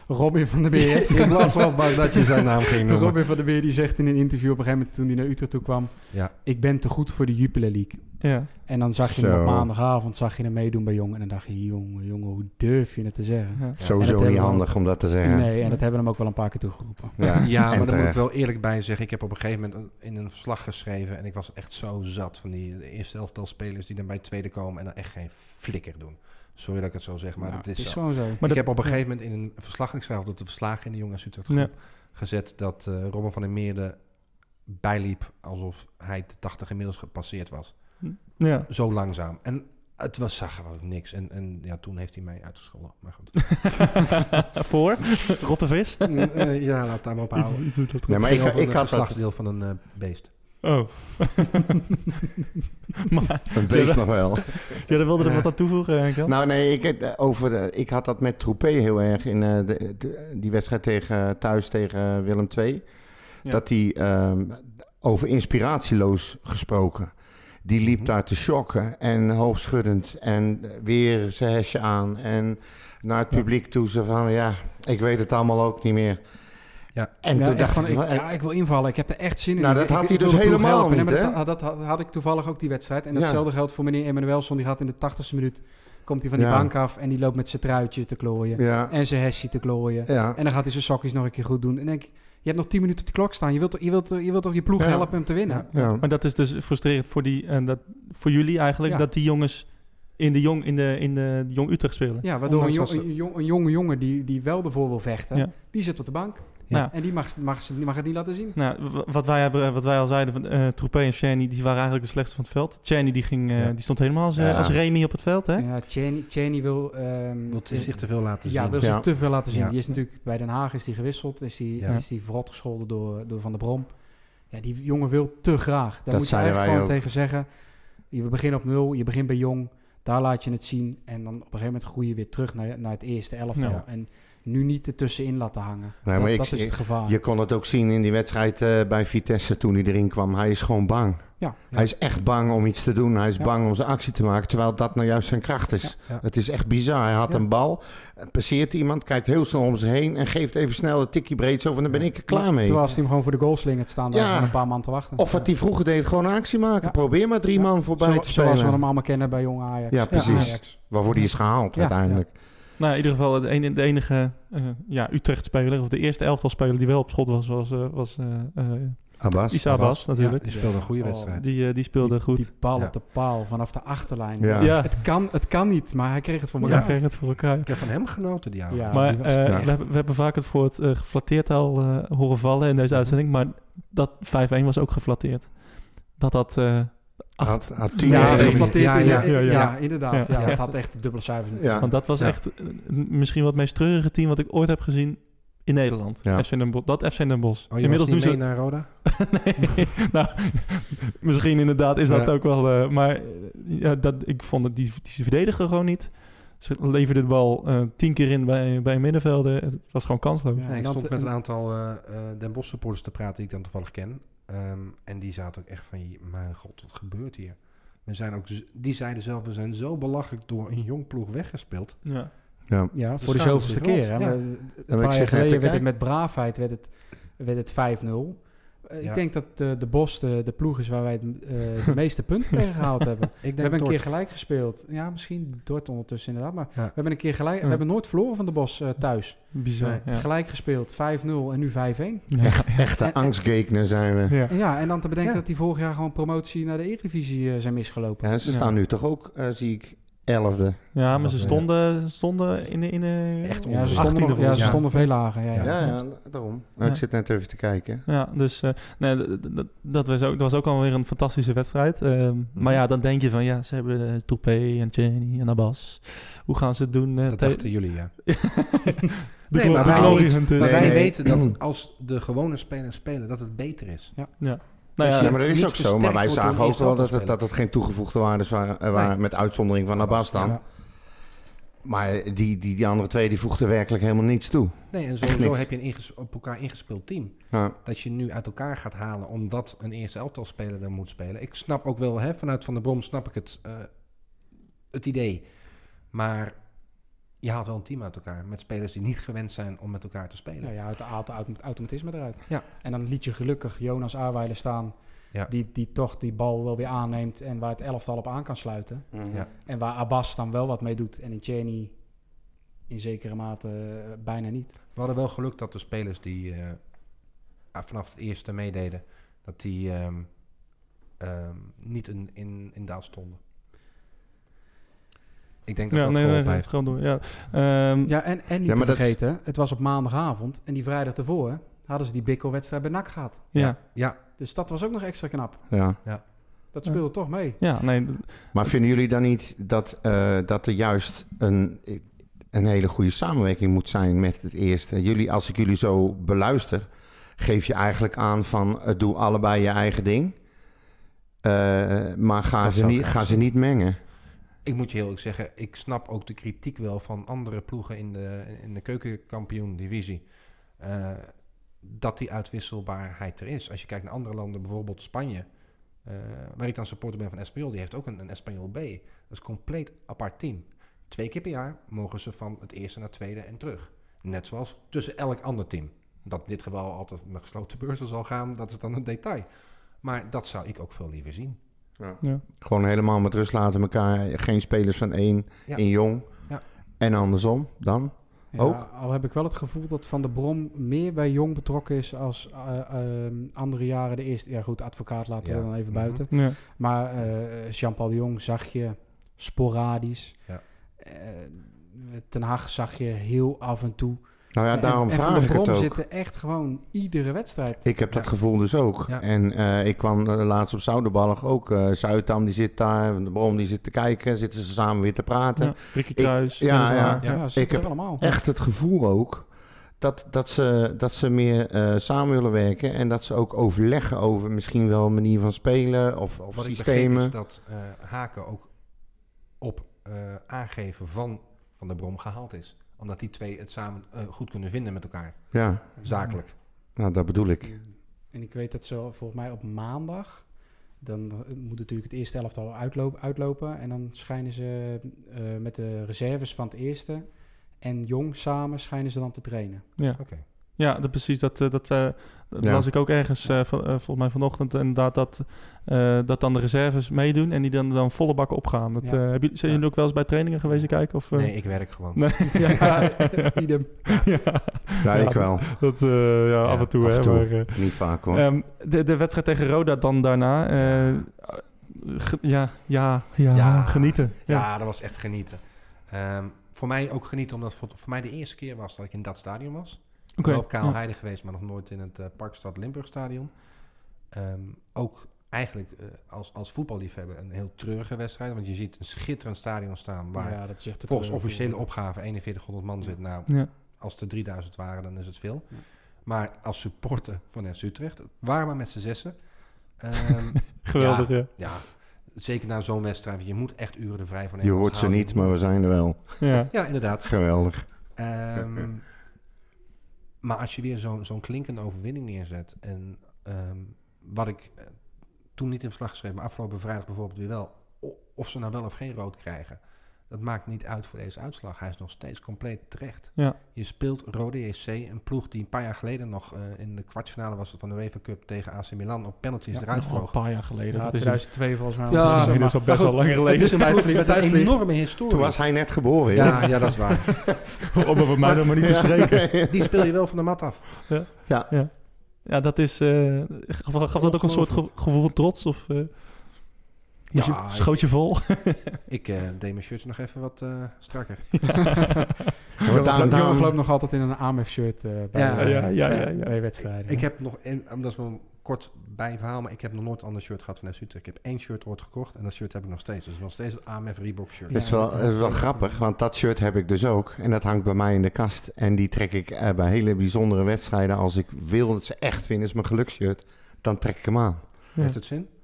[SPEAKER 6] Robin van der Beer.
[SPEAKER 5] ik was wel bang dat je zijn naam ging noemen.
[SPEAKER 6] Robin van der Beer die zegt in een interview op een gegeven moment toen hij naar Utrecht toe kwam...
[SPEAKER 5] Ja.
[SPEAKER 6] ik ben te goed voor de Jupiler League.
[SPEAKER 4] Ja.
[SPEAKER 6] En dan zag je hem
[SPEAKER 7] Zo.
[SPEAKER 6] op maandagavond zag je hem meedoen bij Jong. En dan dacht je, jongen, jongen, hoe durf je het te zeggen?
[SPEAKER 4] ja.
[SPEAKER 6] En dat
[SPEAKER 7] sowieso
[SPEAKER 6] hebben
[SPEAKER 7] niet
[SPEAKER 6] we-
[SPEAKER 7] handig om dat te zeggen.
[SPEAKER 6] Nee, en dat hebben we hem ook wel een paar keer toegeroepen.
[SPEAKER 7] Ja,
[SPEAKER 5] Ja,
[SPEAKER 7] en
[SPEAKER 5] maar daar moet ik
[SPEAKER 7] terecht.
[SPEAKER 5] wel eerlijk bij zeggen. Ik heb op een gegeven moment een- in een verslag geschreven... en ik was echt zo zat van die de eerste elftal spelers... die dan bij het tweede komen en dan echt geen flikker doen. Sorry dat ik het zo zeg, maar
[SPEAKER 6] Nou,
[SPEAKER 5] dat is, zo.
[SPEAKER 6] gewoon zo.
[SPEAKER 4] Maar
[SPEAKER 5] ik
[SPEAKER 4] dat-
[SPEAKER 5] heb op een gegeven moment in een verslag... ik schrijf altijd de verslagen in de jongens Utrecht
[SPEAKER 4] Ja.
[SPEAKER 5] groep... gezet dat eh Robin van der Meerde bijliep... alsof hij de 80 inmiddels gepasseerd was.
[SPEAKER 4] Ja.
[SPEAKER 5] Zo langzaam. En het was, zag gewoon niks. En, en ja, toen heeft hij mij uitgescholden. Maar goed.
[SPEAKER 4] Voor? Rotte vis?
[SPEAKER 5] Mm, eh, ja, laat daar maar op
[SPEAKER 4] Iets, iets, dat-
[SPEAKER 7] Nee, maar ik, ik had dat
[SPEAKER 5] slachtdeel van een eh, beest.
[SPEAKER 4] Oh. maar
[SPEAKER 7] een beest nog wel.
[SPEAKER 4] ja, dan wilde er wat aan toevoegen, Henk Jan?
[SPEAKER 7] Nou nee, ik, eh, over, eh, ik had dat met Troepé heel erg in eh, de, de- die wedstrijd tegen, thuis tegen Willem II.
[SPEAKER 4] Ja.
[SPEAKER 7] Dat hij ehm, over inspiratieloos gesproken. Die liep
[SPEAKER 5] Mhm.
[SPEAKER 7] daar te shocken en hoofdschuddend en eh, weer zijn hesje aan. En naar het
[SPEAKER 4] Ja.
[SPEAKER 7] publiek toe ze van ja, ik weet het allemaal ook niet meer.
[SPEAKER 5] Ja.
[SPEAKER 7] En
[SPEAKER 6] ja,
[SPEAKER 7] toen
[SPEAKER 6] echt
[SPEAKER 7] dacht
[SPEAKER 6] van,
[SPEAKER 7] ik,
[SPEAKER 6] ik,
[SPEAKER 7] van, eh,
[SPEAKER 6] ja, ik wil invallen. Ik heb er echt zin in.
[SPEAKER 7] Nou, dat
[SPEAKER 6] Ik-
[SPEAKER 7] had
[SPEAKER 6] ik-
[SPEAKER 7] hij
[SPEAKER 6] ik wil
[SPEAKER 7] dus
[SPEAKER 6] de ploeg
[SPEAKER 7] helemaal
[SPEAKER 6] helpen. Nee,
[SPEAKER 7] niet,
[SPEAKER 6] maar Dat,
[SPEAKER 7] hè?
[SPEAKER 6] dat had, had ik toevallig ook die wedstrijd. En
[SPEAKER 7] Ja.
[SPEAKER 6] hetzelfde geldt voor meneer Emmanuelson. Die gaat in de tachtigste minuut, komt hij van die
[SPEAKER 7] Ja.
[SPEAKER 6] bank af... en die loopt met zijn truitje te klooien.
[SPEAKER 7] ja,
[SPEAKER 6] En zijn hesje te klooien.
[SPEAKER 7] ja.
[SPEAKER 6] En dan gaat hij zijn sokjes nog een keer goed doen. En denk ik, je hebt nog 10 minuten op de klok staan. Je wilt, toch- je wilt, je wilt toch je ploeg
[SPEAKER 7] Ja.
[SPEAKER 6] helpen hem te winnen?
[SPEAKER 5] Ja.
[SPEAKER 7] ja.
[SPEAKER 4] Maar dat is dus frustrerend voor, die, en dat, voor jullie eigenlijk,
[SPEAKER 6] Ja.
[SPEAKER 4] dat die jongens in de jong, in de, in de jong Utrecht spelen.
[SPEAKER 6] Ja, waardoor een,
[SPEAKER 5] Ondanks
[SPEAKER 6] jong,
[SPEAKER 5] dat ze-
[SPEAKER 6] een, jong- een jonge jongen die, die wel ervoor wil vechten,
[SPEAKER 4] Ja.
[SPEAKER 6] die zit op de bank.
[SPEAKER 4] Ja.
[SPEAKER 6] En die mag, mag, ze- mag het niet laten zien.
[SPEAKER 4] Nou, w- wat wij, hebben, wat wij al zeiden, van, eh Troepé en Cheney, die waren eigenlijk de slechtste van het veld. Cheney die ging, eh,
[SPEAKER 5] Ja.
[SPEAKER 4] die stond helemaal als, eh,
[SPEAKER 7] Ja.
[SPEAKER 4] als Remy op het veld, hè?
[SPEAKER 6] Ja, Cheney, Cheney wil, ehm,
[SPEAKER 5] Wil zich te veel laten zien.
[SPEAKER 6] ja, wil
[SPEAKER 7] Ja.
[SPEAKER 6] zich te veel laten zien.
[SPEAKER 5] Ja.
[SPEAKER 6] Die is natuurlijk bij Den Haag is die gewisseld, is die,
[SPEAKER 5] Ja.
[SPEAKER 6] is die verrot gescholden door, door Van der Brom. Ja, die jongen wil te graag. Daar
[SPEAKER 7] Dat
[SPEAKER 6] moet je
[SPEAKER 7] zeiden
[SPEAKER 6] eigenlijk
[SPEAKER 7] wij
[SPEAKER 6] gewoon tegen zeggen. Je begint op nul, je begint bij jong, daar laat je het zien. En dan op een gegeven moment groei je weer terug naar, naar het eerste elftal.
[SPEAKER 4] Ja.
[SPEAKER 6] En nu niet ertussenin laten hangen.
[SPEAKER 7] maar
[SPEAKER 6] dat
[SPEAKER 7] ik-
[SPEAKER 6] dat is het gevaar.
[SPEAKER 7] Je kon het ook zien in die wedstrijd eh, bij Vitesse toen hij erin kwam. Hij is gewoon bang.
[SPEAKER 6] Ja.
[SPEAKER 7] Hij is echt bang om iets te doen. Hij is
[SPEAKER 6] Ja.
[SPEAKER 7] bang om zijn actie te maken, terwijl dat nou juist zijn kracht is.
[SPEAKER 5] Ja.
[SPEAKER 7] Het is echt bizar. Hij had
[SPEAKER 6] Ja.
[SPEAKER 7] een bal, eh, passeert iemand, kijkt heel snel om zich heen en geeft even snel een tikkie breed zo van dan ben ik er klaar mee.
[SPEAKER 6] Terwijl als hij hem gewoon voor de goal slingert, staan daar
[SPEAKER 7] Ja.
[SPEAKER 6] gewoon een paar man te wachten.
[SPEAKER 7] Of wat hij vroeger deed, gewoon een actie maken.
[SPEAKER 6] Ja.
[SPEAKER 7] Probeer maar drie
[SPEAKER 6] Ja.
[SPEAKER 7] man voorbij
[SPEAKER 6] Zo-
[SPEAKER 7] te spelen.
[SPEAKER 6] Zoals we hem allemaal kennen bij jonge Ajax.
[SPEAKER 7] Ja, precies.
[SPEAKER 6] Ajax.
[SPEAKER 7] Waarvoor die is gehaald
[SPEAKER 6] Ja.
[SPEAKER 7] uiteindelijk.
[SPEAKER 4] Nou, in ieder geval het ene- de enige eh, ja, Utrecht-speler, of de eerste elftalspeler die wel op schot was, was, eh, was eh, eh,
[SPEAKER 7] Abbas.
[SPEAKER 4] Issa Bas, natuurlijk.
[SPEAKER 5] Ja, die speelde een goede
[SPEAKER 6] Oh,
[SPEAKER 5] wedstrijd.
[SPEAKER 4] Die, eh, die speelde goed.
[SPEAKER 6] Die bal
[SPEAKER 5] Ja.
[SPEAKER 6] op de paal vanaf de achterlijn.
[SPEAKER 7] Ja.
[SPEAKER 4] ja,
[SPEAKER 6] Het, kan, het kan niet, maar hij kreeg het voor
[SPEAKER 4] ja.
[SPEAKER 6] elkaar.
[SPEAKER 4] kreeg het voor elkaar.
[SPEAKER 5] Ik heb van hem genoten, die Oh, avond.
[SPEAKER 6] Ja.
[SPEAKER 4] maar
[SPEAKER 6] die was
[SPEAKER 4] eh,
[SPEAKER 7] echt-
[SPEAKER 4] we, hebben, we hebben vaak het woord eh, geflatteerd al eh, horen vallen in deze uitzending, maar dat 5-1 was ook geflatteerd. Dat dat eh
[SPEAKER 7] Had, had tien
[SPEAKER 6] Ja,
[SPEAKER 5] Ja,
[SPEAKER 7] jaar-
[SPEAKER 6] geflatteerd.
[SPEAKER 5] ja,
[SPEAKER 6] in de-
[SPEAKER 5] ja, ja, ja.
[SPEAKER 6] ja, inderdaad.
[SPEAKER 4] Ja.
[SPEAKER 6] Ja, het had echt dubbele cijfers. moeten
[SPEAKER 7] Ja.
[SPEAKER 6] zijn.
[SPEAKER 4] Want dat was
[SPEAKER 5] Ja.
[SPEAKER 4] echt eh, misschien wat het meest treurige team wat ik ooit heb gezien in Nederland.
[SPEAKER 7] Ja.
[SPEAKER 4] FC Den Bosch, dat FC Den Bosch.
[SPEAKER 5] Oh, je
[SPEAKER 4] Inmiddels
[SPEAKER 5] was
[SPEAKER 4] doen
[SPEAKER 5] niet
[SPEAKER 4] ze...
[SPEAKER 5] mee naar Roda?
[SPEAKER 4] Nee, nou, misschien inderdaad is dat
[SPEAKER 5] Ja.
[SPEAKER 4] ook wel... eh, maar eh, ja, dat, ik vond het, die, die verdedigen gewoon niet. Ze leverden de bal eh, tien keer in bij, bij een middenvelder. Het was gewoon kansloos.
[SPEAKER 6] Ja,
[SPEAKER 5] Nee,
[SPEAKER 6] en
[SPEAKER 5] ik
[SPEAKER 6] dat-
[SPEAKER 5] stond met
[SPEAKER 6] en-
[SPEAKER 5] een aantal eh, eh, Den Bosch supporters te praten die ik dan toevallig ken. Ehm, en die zaten ook echt van, mijn god, wat gebeurt hier? We zijn ook, z- die zeiden zelf, we zijn zo belachelijk door een jong ploeg weggespeeld.
[SPEAKER 4] Ja.
[SPEAKER 7] Ja.
[SPEAKER 6] Ja,
[SPEAKER 5] De
[SPEAKER 6] voor de
[SPEAKER 5] schaamte
[SPEAKER 6] zoveelste
[SPEAKER 5] is rond.
[SPEAKER 6] keer. Hè?
[SPEAKER 5] Ja.
[SPEAKER 6] Maar Een
[SPEAKER 7] ik
[SPEAKER 6] paar jaar
[SPEAKER 7] zit net te
[SPEAKER 6] geleden werd het
[SPEAKER 7] kijken.
[SPEAKER 6] met braafheid werd het, werd het 5-0. Eh,
[SPEAKER 5] Ja.
[SPEAKER 6] Ik denk dat eh, de Bos de, de ploeg is waar wij het, eh, de meeste punten tegen gehaald hebben.
[SPEAKER 5] Ik
[SPEAKER 6] We
[SPEAKER 5] denk
[SPEAKER 6] hebben een
[SPEAKER 5] toch-
[SPEAKER 6] keer gelijk gespeeld. Ja, misschien Dordt ondertussen inderdaad. Maar
[SPEAKER 5] Ja.
[SPEAKER 6] we hebben een keer gelijk.
[SPEAKER 4] Ja.
[SPEAKER 6] We hebben nooit verloren van de Bos eh, thuis.
[SPEAKER 4] Bizar.
[SPEAKER 5] Nee.
[SPEAKER 4] Ja.
[SPEAKER 6] Gelijk gespeeld, 5-0 en nu 5-1.
[SPEAKER 4] Ja.
[SPEAKER 7] Echte angstgekenen zijn we.
[SPEAKER 4] Ja.
[SPEAKER 6] En ja, en dan te bedenken
[SPEAKER 5] Ja.
[SPEAKER 6] dat die vorig jaar gewoon promotie naar de Eredivisie eh, zijn misgelopen.
[SPEAKER 7] Ja, ze
[SPEAKER 4] Ja.
[SPEAKER 7] staan nu toch ook, eh, zie ik, elfde.
[SPEAKER 4] Ja, maar ze
[SPEAKER 5] Ja.
[SPEAKER 4] stonden, ze stonden in de... In de
[SPEAKER 5] Echt
[SPEAKER 6] Ja, ze
[SPEAKER 4] 18e
[SPEAKER 6] stonden, nog- ja, ze
[SPEAKER 4] volgens mij.
[SPEAKER 6] stonden veel lager. Ja, ja.
[SPEAKER 7] Ja, ja, daarom. Nou,
[SPEAKER 4] Ja.
[SPEAKER 7] Ik zit net even te kijken.
[SPEAKER 4] Ja, dus eh, nee, d- d- d- dat, was ook, dat was ook alweer een fantastische wedstrijd. Ehm,
[SPEAKER 5] Mhm.
[SPEAKER 4] Maar ja, dan denk je van ja, ze hebben eh Toupé en Cheney en Abbas. Hoe gaan ze het doen? eh,
[SPEAKER 5] Dat
[SPEAKER 4] te-
[SPEAKER 5] dachten jullie, ja.
[SPEAKER 4] de
[SPEAKER 5] Nee, maar
[SPEAKER 4] glo- de
[SPEAKER 5] wij
[SPEAKER 4] glorie
[SPEAKER 5] niet.
[SPEAKER 4] hunt is.
[SPEAKER 5] Maar
[SPEAKER 7] Nee,
[SPEAKER 5] wij
[SPEAKER 7] nee.
[SPEAKER 5] weten dat als de gewone spelers spelen, dat het beter is.
[SPEAKER 4] Nou ja,
[SPEAKER 5] Dus
[SPEAKER 7] Ja,
[SPEAKER 5] je-
[SPEAKER 7] maar dat is
[SPEAKER 5] niet
[SPEAKER 7] ook zo.
[SPEAKER 5] versterkt
[SPEAKER 7] Maar wij
[SPEAKER 5] wordt
[SPEAKER 7] zagen
[SPEAKER 5] door
[SPEAKER 7] ook wel dat
[SPEAKER 5] eerst
[SPEAKER 7] het, dat het geen toegevoegde waarden waren, eh, waren
[SPEAKER 5] Nee.
[SPEAKER 7] met uitzondering van Abbas dan.
[SPEAKER 5] Ja.
[SPEAKER 7] Maar die, die, die andere twee die voegden werkelijk helemaal niets toe.
[SPEAKER 5] Nee, en
[SPEAKER 7] Echt
[SPEAKER 5] sowieso
[SPEAKER 7] niks.
[SPEAKER 5] heb je een inges- op elkaar ingespeeld team.
[SPEAKER 7] Ja.
[SPEAKER 5] Dat je nu uit elkaar gaat halen omdat een eerste elftal speler dan moet spelen. Ik snap ook wel, hè, vanuit Van der Brom snap ik het, eh, het idee. Maar je haalt wel een team uit elkaar met spelers die niet gewend zijn om met elkaar te spelen.
[SPEAKER 6] Nou ja, het haalt de autom- automatisme eruit.
[SPEAKER 5] Ja.
[SPEAKER 6] En dan liet je gelukkig Jonas Aarweiler staan.
[SPEAKER 5] Ja.
[SPEAKER 6] Die, die toch die bal wel weer aanneemt en waar het elftal op aan kan sluiten.
[SPEAKER 5] Ja.
[SPEAKER 6] En waar Abbas dan wel wat mee doet en in Cheney in zekere mate eh, bijna niet.
[SPEAKER 5] We hadden wel geluk dat de spelers die eh, ah, vanaf het eerste meededen, dat die ehm, ehm, niet in, in, in daal stonden. Ik denk dat
[SPEAKER 4] ja,
[SPEAKER 5] dat
[SPEAKER 4] nee, nee,
[SPEAKER 5] geholpen
[SPEAKER 4] nee,
[SPEAKER 5] heeft.
[SPEAKER 4] gewoon door. Ja. Ehm,
[SPEAKER 6] Ja, en, en niet
[SPEAKER 7] Ja,
[SPEAKER 6] te
[SPEAKER 7] maar dat-
[SPEAKER 6] vergeten, het was op maandagavond en die vrijdag ervoor hadden ze die bikkelwedstrijd bij NAC gehad.
[SPEAKER 4] ja.
[SPEAKER 5] Ja,
[SPEAKER 6] Dus dat was ook nog extra knap.
[SPEAKER 7] Ja.
[SPEAKER 6] Dat
[SPEAKER 4] Ja.
[SPEAKER 6] speelde toch mee.
[SPEAKER 4] Ja, nee,
[SPEAKER 7] Maar vinden jullie dan niet dat, eh, dat er juist een, een hele goede samenwerking moet zijn met het eerste? Jullie, als ik jullie zo beluister, geef je eigenlijk aan van eh, doe allebei je eigen ding. Eh, maar ga,
[SPEAKER 5] Dat
[SPEAKER 7] ze
[SPEAKER 5] zou
[SPEAKER 7] niet,
[SPEAKER 5] graag
[SPEAKER 7] ga ze
[SPEAKER 5] zijn.
[SPEAKER 7] niet mengen.
[SPEAKER 5] ik moet je heel eerlijk zeggen, ik snap ook de kritiek wel van andere ploegen in de, in de keukenkampioen-divisie. eh, dat die uitwisselbaarheid er is. Als je kijkt naar andere landen, bijvoorbeeld Spanje, eh, waar ik dan supporter ben van Espanyol, die heeft ook een, een Espanyol B. Dat is een compleet apart team. Twee keer per jaar mogen ze van het eerste naar het tweede en terug. Net zoals tussen elk ander team. Dat in dit geval altijd met gesloten beurzen zal gaan, dat is dan een detail. Maar dat zou ik ook veel liever zien.
[SPEAKER 7] Gewoon helemaal met rust laten elkaar. Geen spelers van één
[SPEAKER 5] Ja.
[SPEAKER 7] in jong.
[SPEAKER 5] Ja.
[SPEAKER 7] En andersom dan.
[SPEAKER 6] Ja,
[SPEAKER 7] Ook?
[SPEAKER 6] Al heb ik wel het gevoel dat Van der Brom meer bij Jong betrokken is als eh, eh, andere jaren de eerste. Ja goed, advocaat laten we
[SPEAKER 5] Ja.
[SPEAKER 6] dan even
[SPEAKER 5] Mhm.
[SPEAKER 6] buiten.
[SPEAKER 4] ja.
[SPEAKER 6] Maar eh, Jean-Paul de Jong zag je sporadisch.
[SPEAKER 5] Ja.
[SPEAKER 6] Eh, Ten Haag zag je heel af en toe.
[SPEAKER 7] Nou ja,
[SPEAKER 6] En-
[SPEAKER 7] daarom
[SPEAKER 6] en Van
[SPEAKER 7] vraag
[SPEAKER 6] der
[SPEAKER 7] ik het
[SPEAKER 6] Brom
[SPEAKER 7] ook.
[SPEAKER 6] zitten echt gewoon iedere wedstrijd.
[SPEAKER 7] Ik heb dat
[SPEAKER 5] Ja.
[SPEAKER 7] gevoel dus ook.
[SPEAKER 5] Ja.
[SPEAKER 7] En eh, ik kwam eh, laatst op Zouderballig ook. eh Zuidam die zit daar, Van de Brom die zit te kijken. Zitten ze samen weer te praten.
[SPEAKER 4] Ja, Ricky Kruis.
[SPEAKER 7] ja,
[SPEAKER 4] Dennis
[SPEAKER 7] ja.
[SPEAKER 4] Laar.
[SPEAKER 6] ja, ze zitten
[SPEAKER 7] heb
[SPEAKER 6] er allemaal.
[SPEAKER 7] Echt het gevoel ook dat, dat, ze, dat ze meer eh, samen willen werken. En dat ze ook overleggen over misschien wel een manier van spelen of, of
[SPEAKER 5] Wat
[SPEAKER 7] systemen.
[SPEAKER 5] ik begreep is dat eh, Haken ook op eh, aangeven van Van der Brom gehaald is. Omdat die twee het samen eh, goed kunnen vinden met elkaar,
[SPEAKER 7] Ja,
[SPEAKER 5] zakelijk.
[SPEAKER 7] nou dat bedoel ik.
[SPEAKER 6] En ik weet dat ze volgens mij op maandag. Dan eh, moet natuurlijk het eerste elftal uitloop, uitlopen. En dan schijnen ze eh, met de reserves van het eerste en jong samen schijnen ze dan te trainen.
[SPEAKER 5] Oké.
[SPEAKER 4] Ja, dat, precies. Dat, eh, dat, eh, dat
[SPEAKER 7] Ja.
[SPEAKER 4] las ik ook ergens, eh, van- eh, volgens mij vanochtend, inderdaad, dat, eh, dat dan de reserves meedoen en die dan, dan volle bak opgaan. Dat,
[SPEAKER 6] Ja.
[SPEAKER 4] eh, hebben jullie- zijn jullie ook wel eens bij trainingen geweest kijken? Of, eh?
[SPEAKER 5] Nee, ik werk gewoon.
[SPEAKER 4] Nee.
[SPEAKER 6] ja, idem.
[SPEAKER 4] ja,
[SPEAKER 7] Ja,
[SPEAKER 4] Ja,
[SPEAKER 7] ik wel.
[SPEAKER 4] dat, eh, ja, af en toe.
[SPEAKER 7] af
[SPEAKER 4] hè,
[SPEAKER 7] en toe.
[SPEAKER 4] maar, eh,
[SPEAKER 7] Niet vaak hoor.
[SPEAKER 4] ehm, de, de wedstrijd tegen Roda dan daarna. eh, ge- ja, ja, ja,
[SPEAKER 5] Ja.
[SPEAKER 4] genieten.
[SPEAKER 5] Ja,
[SPEAKER 4] Ja.
[SPEAKER 5] dat was echt genieten. Ehm, voor mij ook genieten, omdat het voor, voor mij de eerste keer was dat ik in dat stadion was.
[SPEAKER 4] Oké.
[SPEAKER 5] Wel op Kaal
[SPEAKER 4] Ja.
[SPEAKER 5] Heide geweest, maar nog nooit in het eh, Parkstad Limburg Stadion. Ehm, ook eigenlijk eh, als, als voetballiefhebber een heel treurige wedstrijd. Want je ziet een schitterend stadion staan waar
[SPEAKER 6] Ja, dat is echt te
[SPEAKER 5] volgens
[SPEAKER 6] treurig.
[SPEAKER 5] officiële opgave 4100 man zit. Nou,
[SPEAKER 4] Ja.
[SPEAKER 5] als er 3000 waren, dan is het veel.
[SPEAKER 6] Ja.
[SPEAKER 5] Maar als supporter van FC Utrecht, het waren maar met z'n zessen. Ehm,
[SPEAKER 4] Geweldig, ja.
[SPEAKER 5] ja, zeker na zo'n wedstrijd. want Je moet echt uren er vrij van
[SPEAKER 7] Je
[SPEAKER 5] nemen,
[SPEAKER 7] hoort ze
[SPEAKER 5] anders
[SPEAKER 7] niet, maar
[SPEAKER 5] hou
[SPEAKER 7] we zijn er wel.
[SPEAKER 4] ja.
[SPEAKER 5] je- Ja, inderdaad.
[SPEAKER 7] Geweldig.
[SPEAKER 5] Ehm, maar als je weer zo'n zo'n klinkende overwinning neerzet... en ehm, wat ik eh, toen niet in verslag schreef... maar afgelopen vrijdag bijvoorbeeld weer wel... o- of ze nou wel of geen rood krijgen... dat maakt niet uit voor deze uitslag. Hij is nog steeds compleet terecht.
[SPEAKER 4] Ja.
[SPEAKER 5] Je speelt Rode JC, een ploeg die een paar jaar geleden nog... eh, in de kwartfinale was het van de UEFA Cup tegen AC Milan... op penalties
[SPEAKER 6] Ja,
[SPEAKER 5] eruit
[SPEAKER 4] Nou, Al een
[SPEAKER 5] vloog.
[SPEAKER 4] paar jaar geleden.
[SPEAKER 6] Ja,
[SPEAKER 4] dat is
[SPEAKER 6] 2002 volgens mij.
[SPEAKER 5] Ja,
[SPEAKER 6] Dat is
[SPEAKER 4] Oh, dat
[SPEAKER 6] een-
[SPEAKER 4] is
[SPEAKER 6] maar-
[SPEAKER 4] inmiddels al best wel lang
[SPEAKER 5] Het
[SPEAKER 4] geleden.
[SPEAKER 5] is een ploeg
[SPEAKER 6] Tijdvlieg,
[SPEAKER 5] met een
[SPEAKER 6] tijdvlieg.
[SPEAKER 5] enorme historie.
[SPEAKER 7] Toen was hij net geboren. joh.
[SPEAKER 5] ja, ja, dat is waar.
[SPEAKER 4] Om over mij dan maar niet te spreken.
[SPEAKER 5] Die speel je wel van de mat af.
[SPEAKER 7] Ja.
[SPEAKER 4] Ja, dat is... eh, gaf, gaf dat ook een soort ge- gevoel van trots? Of eh, moest
[SPEAKER 5] Ja,
[SPEAKER 4] je, schoot je vol?
[SPEAKER 5] Ik eh, deed mijn shirtje nog even wat eh, strakker.
[SPEAKER 6] Jongens
[SPEAKER 7] daarom-
[SPEAKER 6] lo-
[SPEAKER 7] daarom-
[SPEAKER 6] Jongens loopt nog altijd in een AMF-shirt bij,
[SPEAKER 5] Ja,
[SPEAKER 6] eh,
[SPEAKER 4] ja, ja,
[SPEAKER 6] bij-
[SPEAKER 4] ja, ja.
[SPEAKER 6] bij wedstrijden.
[SPEAKER 5] Ik heb nog, en, omdat we kort bijverhaal, maar ik heb nog nooit een ander shirt gehad van FC Utrecht. Ik heb één shirt ooit gekocht en dat shirt heb ik nog steeds. Dus nog steeds het AMF Reebok shirt.
[SPEAKER 6] Ja.
[SPEAKER 7] Dat is wel, dat is wel grappig, want dat shirt heb ik dus ook. En dat hangt bij mij in de kast. En die trek ik eh, bij hele bijzondere wedstrijden. Als ik wil dat ze echt winnen, is mijn geluksshirt. Dan trek ik hem aan.
[SPEAKER 5] Heeft het zin?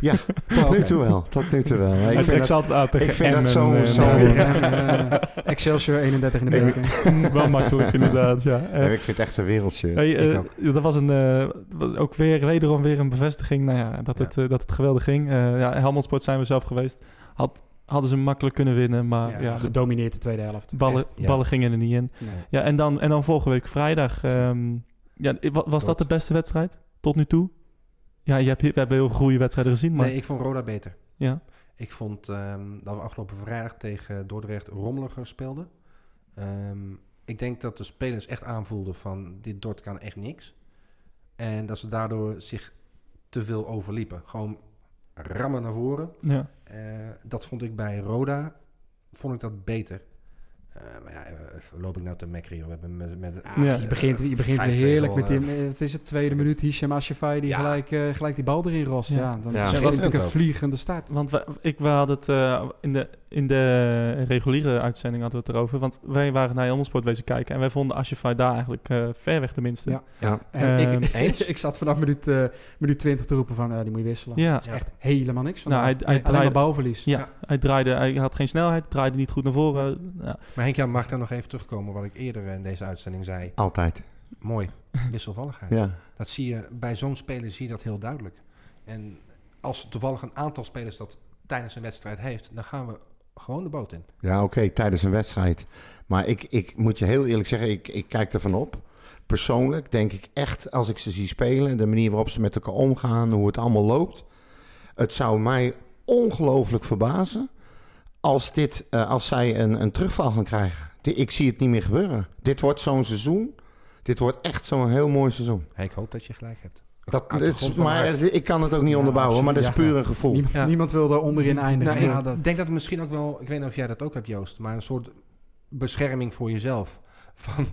[SPEAKER 7] Ja,
[SPEAKER 5] Oh,
[SPEAKER 7] Tot
[SPEAKER 5] oké.
[SPEAKER 7] nu toe wel. Tot nu toe wel. Ik
[SPEAKER 4] Hij
[SPEAKER 7] vind
[SPEAKER 4] trekt
[SPEAKER 7] dat-
[SPEAKER 4] ze altijd aan tegen
[SPEAKER 7] ik vind dat
[SPEAKER 4] Emmen
[SPEAKER 7] zo-
[SPEAKER 4] en,
[SPEAKER 7] zo-
[SPEAKER 4] eh,
[SPEAKER 6] Eh, Excelsior 31 in de
[SPEAKER 7] Ik-
[SPEAKER 6] beker.
[SPEAKER 4] wel makkelijk inderdaad, ja. Eh,
[SPEAKER 7] Ja, ik vind het echt een wereldshirt.
[SPEAKER 4] Hey,
[SPEAKER 5] ik
[SPEAKER 4] eh, dat was een, eh, was ook weer, wederom weer een bevestiging nou ja, dat,
[SPEAKER 5] Ja.
[SPEAKER 4] Het, eh, dat het geweldig ging. Eh ja, Helmond Sport zijn we zelf geweest. Had, hadden ze makkelijk kunnen winnen, maar
[SPEAKER 5] Ja,
[SPEAKER 4] ja, de
[SPEAKER 6] Gedomineerd de tweede helft.
[SPEAKER 4] ballen,
[SPEAKER 5] echt, ja.
[SPEAKER 4] ballen gingen er niet in.
[SPEAKER 6] Nee.
[SPEAKER 4] Ja, en dan, en dan vorige week vrijdag. ehm, ja, wa- was dat
[SPEAKER 5] Klopt.
[SPEAKER 4] de beste wedstrijd tot nu toe? Ja, je hebt, hier- we hebben heel goede wedstrijden gezien, maar
[SPEAKER 5] Nee, ik vond Roda beter.
[SPEAKER 4] ja.
[SPEAKER 5] Ik vond ehm, dat we afgelopen vrijdag tegen Dordrecht rommeliger speelden. Ehm, ik denk dat de spelers echt aanvoelden van dit Dort kan echt niks. En dat ze daardoor zich te veel overliepen. Gewoon rammen naar voren.
[SPEAKER 4] ja.
[SPEAKER 5] Eh, dat vond ik bij Roda vond ik dat beter. Eh, maar ja, eh, loop ik nou te mekkeren? We hebben met, ah, met,
[SPEAKER 4] Ja.
[SPEAKER 6] Je begint, je begint weer
[SPEAKER 5] 5-2
[SPEAKER 6] heerlijk met
[SPEAKER 5] gewonnen.
[SPEAKER 6] die... eh, Het is de tweede minuut, Hisham Ashafai, die
[SPEAKER 5] Ja.
[SPEAKER 6] gelijk, eh, gelijk die bal erin rost.
[SPEAKER 4] Ja.
[SPEAKER 6] Ja, dan
[SPEAKER 7] Ja.
[SPEAKER 6] is
[SPEAKER 5] Zeg,
[SPEAKER 6] het
[SPEAKER 5] wat
[SPEAKER 6] natuurlijk
[SPEAKER 5] ook.
[SPEAKER 6] een vliegende start.
[SPEAKER 4] Want we, ik, we hadden het eh, in, de, in de reguliere uitzending hadden we het erover. Want wij waren naar Helmersport wezen kijken. En wij vonden Ashify daar eigenlijk eh, ver weg de minste.
[SPEAKER 6] Ja.
[SPEAKER 7] Ja.
[SPEAKER 6] En
[SPEAKER 4] Ehm,
[SPEAKER 6] ik, ik zat vanaf minuut, eh minuut 20 te roepen van, ja, die moet je wisselen.
[SPEAKER 4] Ja.
[SPEAKER 5] eh,
[SPEAKER 6] Dat is echt helemaal niks van.
[SPEAKER 4] Nou, hij, hij,
[SPEAKER 6] Alleen maar
[SPEAKER 4] draaide,
[SPEAKER 6] balverlies.
[SPEAKER 4] ja, hij draaide, hij had geen snelheid, draaide niet goed naar voren. Ja.
[SPEAKER 5] Maar Henk, Jan, mag ik daar nog even terugkomen wat ik eerder in deze uitzending zei?
[SPEAKER 7] Altijd.
[SPEAKER 5] Mooi, wisselvalligheid.
[SPEAKER 7] Ja.
[SPEAKER 5] Dat zie je bij zo'n speler zie je dat heel duidelijk. En als toevallig een aantal spelers dat tijdens een wedstrijd heeft, dan gaan we gewoon de boot in.
[SPEAKER 7] Ja, oké, tijdens een wedstrijd. Maar ik, ik moet je heel eerlijk zeggen, ik, ik kijk ervan op. Persoonlijk denk ik echt, als ik ze zie spelen, de manier waarop ze met elkaar omgaan, hoe het allemaal loopt. Het zou mij ongelooflijk verbazen als, dit, eh, als zij een, een terugval gaan krijgen. Di- Ik zie het niet meer gebeuren. Dit wordt zo'n seizoen. Dit wordt echt zo'n heel mooi seizoen.
[SPEAKER 5] Hey, ik hoop dat je gelijk hebt.
[SPEAKER 7] Dat,
[SPEAKER 5] Uit de
[SPEAKER 7] dit is-
[SPEAKER 5] grond van mijn
[SPEAKER 7] maar
[SPEAKER 5] hart.
[SPEAKER 7] het- ik kan het ook niet
[SPEAKER 6] Ja,
[SPEAKER 7] onderbouwen, maar dat is
[SPEAKER 6] absoluut,
[SPEAKER 7] puur een gevoel.
[SPEAKER 6] Niemand,
[SPEAKER 5] Ja.
[SPEAKER 6] niemand wil daar onderin eindigen.
[SPEAKER 5] Nou,
[SPEAKER 6] ja,
[SPEAKER 5] ik
[SPEAKER 6] dus dat,
[SPEAKER 5] denk dat het misschien ook wel, ik weet niet of jij dat ook hebt Joost, maar een soort bescherming voor jezelf. Van,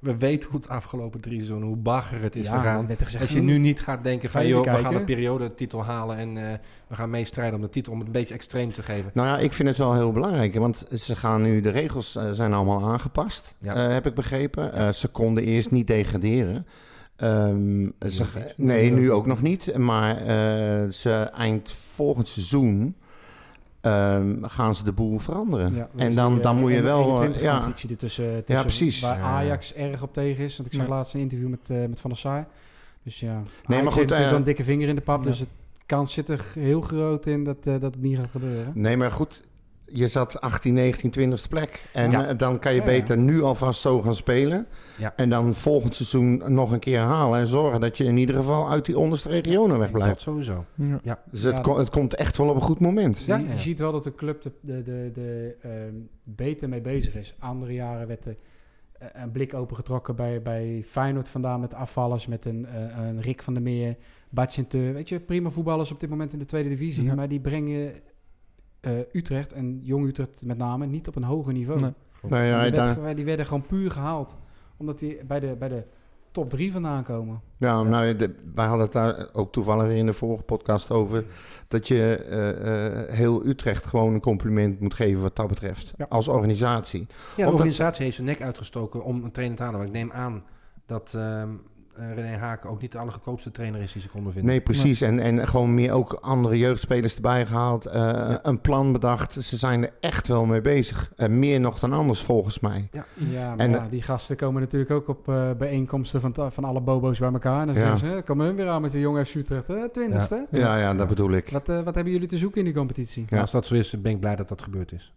[SPEAKER 5] we weten hoe het afgelopen drie seizoenen, hoe bagger het is
[SPEAKER 6] ja,
[SPEAKER 5] gegaan.
[SPEAKER 6] werd er gezegd,
[SPEAKER 5] Dat je nu niet gaat denken van,
[SPEAKER 6] Ga je
[SPEAKER 5] joh,
[SPEAKER 6] weer
[SPEAKER 5] we gaan
[SPEAKER 6] kijken?
[SPEAKER 5] een periodetitel halen en eh, we gaan meestrijden om de titel, om het een beetje extreem te geven.
[SPEAKER 7] Nou ja, ik vind het wel heel belangrijk, hè, want ze gaan nu, de regels eh, zijn allemaal aangepast,
[SPEAKER 5] Ja.
[SPEAKER 7] eh, heb ik begrepen. Eh, ze konden eerst niet degraderen. Ehm, ze,
[SPEAKER 5] nog niet.
[SPEAKER 7] nee, nu ook nog niet, maar eh, ze eind volgend seizoen ehm, gaan ze de boel veranderen.
[SPEAKER 6] Ja,
[SPEAKER 7] en dan, dan moet je wel... eh,
[SPEAKER 6] ja.
[SPEAKER 7] ja,
[SPEAKER 6] competitie ertussen. tussen,
[SPEAKER 7] precies.
[SPEAKER 6] Waar
[SPEAKER 7] Ja.
[SPEAKER 6] Ajax erg op tegen is. Want ik zag
[SPEAKER 4] Ja.
[SPEAKER 6] laatst een interview met, eh, met Van der Sar. Dus ja. Nee,
[SPEAKER 7] maar goed, eh,
[SPEAKER 6] wel een dikke vinger in de pap.
[SPEAKER 4] ja.
[SPEAKER 6] Dus het kans zit er heel groot in dat, eh, dat het niet gaat gebeuren.
[SPEAKER 7] nee, maar goed, je zat 18, 19, 20ste plek. En
[SPEAKER 5] Ja.
[SPEAKER 7] eh, dan kan je
[SPEAKER 6] Ja, ja.
[SPEAKER 7] beter nu alvast zo gaan spelen.
[SPEAKER 5] Ja.
[SPEAKER 7] En dan volgend seizoen nog een keer halen en zorgen dat je in ieder geval uit die onderste regionen wegblijft.
[SPEAKER 5] Dat sowieso.
[SPEAKER 4] Ja.
[SPEAKER 7] Dus het,
[SPEAKER 6] Ja.
[SPEAKER 7] ko- het komt echt wel op een goed moment.
[SPEAKER 5] Ja,
[SPEAKER 6] je, je
[SPEAKER 5] ja.
[SPEAKER 6] ziet wel dat de club de, de, de, de, ehm, beter mee bezig is. Andere jaren werd de, eh, een blik opengetrokken bij, bij Feyenoord vandaan met afvallers, met een, eh, een Rick van der Meer, Batsinteur. Weet je, prima voetballers op dit moment in de tweede divisie,
[SPEAKER 4] Ja.
[SPEAKER 6] maar die brengen eh, Utrecht en Jong Utrecht met name niet op een hoger niveau.
[SPEAKER 4] Nee.
[SPEAKER 7] Nou ja,
[SPEAKER 6] die, werd
[SPEAKER 7] daar-
[SPEAKER 6] ge- die werden gewoon puur gehaald, omdat die bij de, bij de top drie vandaan komen.
[SPEAKER 7] ja, nou, de- wij hadden het daar ook toevallig in de vorige podcast over. Dat je eh, eh, heel Utrecht gewoon een compliment moet geven wat dat betreft.
[SPEAKER 6] Ja.
[SPEAKER 7] Als organisatie.
[SPEAKER 5] Ja, de
[SPEAKER 7] Omdat-
[SPEAKER 5] organisatie heeft zijn nek uitgestoken om een trainer te halen. Maar ik neem aan dat ehm, eh, René Haken ook niet de allergekoopste trainer is die ze konden vinden.
[SPEAKER 7] Nee, precies. En, en gewoon meer ook andere jeugdspelers erbij gehaald. eh, Een plan bedacht. Ze zijn er echt wel mee bezig. En meer nog dan anders volgens mij.
[SPEAKER 6] Ja, maar
[SPEAKER 7] En-
[SPEAKER 6] ja, die gasten komen natuurlijk ook op eh, bijeenkomsten van, ta- van alle bobo's bij elkaar. En dan
[SPEAKER 7] Ja.
[SPEAKER 6] zeggen ze, "Hè, komen hun weer aan met de jonge FC Utrecht, hè, twintigste.
[SPEAKER 7] Ja, ja, dat bedoel ik.
[SPEAKER 6] Wat, eh, wat hebben jullie te zoeken in die competitie?
[SPEAKER 7] Ja.
[SPEAKER 5] Als dat zo is, ben ik blij dat dat gebeurd is.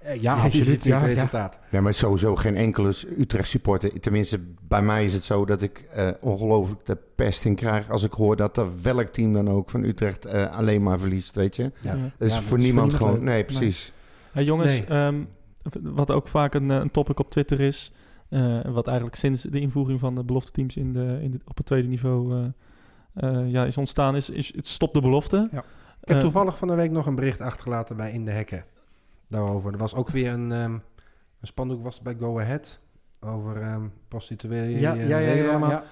[SPEAKER 5] Eh,
[SPEAKER 6] ja,
[SPEAKER 5] Je ziet nu het resultaat.
[SPEAKER 7] Nee, maar sowieso geen enkele Utrecht supporter. Tenminste, bij mij is het zo dat ik eh, ongelooflijk de pest in krijg als ik hoor dat er welk team dan ook van Utrecht eh, alleen maar verliest, weet je.
[SPEAKER 5] Ja.
[SPEAKER 4] Ja.
[SPEAKER 7] Dat is
[SPEAKER 6] Ja, maar
[SPEAKER 7] voor
[SPEAKER 6] het is voor
[SPEAKER 7] niemand
[SPEAKER 6] niemand
[SPEAKER 7] gewoon.
[SPEAKER 6] leuk.
[SPEAKER 7] Nee, precies.
[SPEAKER 4] Hey, jongens,
[SPEAKER 5] Nee.
[SPEAKER 4] ehm, wat ook vaak een, eh, een topic op Twitter is. eh, wat eigenlijk sinds de invoering van de belofte teams in de, in de, op het tweede niveau eh, eh, ja, is ontstaan, is, is het stopt de belofte.
[SPEAKER 6] Ja.
[SPEAKER 5] Ik heb
[SPEAKER 4] Eh,
[SPEAKER 5] toevallig van de week nog een bericht achtergelaten bij In de Hekken. Daarover. Er was ook weer een, ehm een spandoek was het bij Go Ahead. Over ehm prostituee. eh,
[SPEAKER 6] Ja, ja, ja, ja,
[SPEAKER 5] weet je het allemaal?
[SPEAKER 6] ja.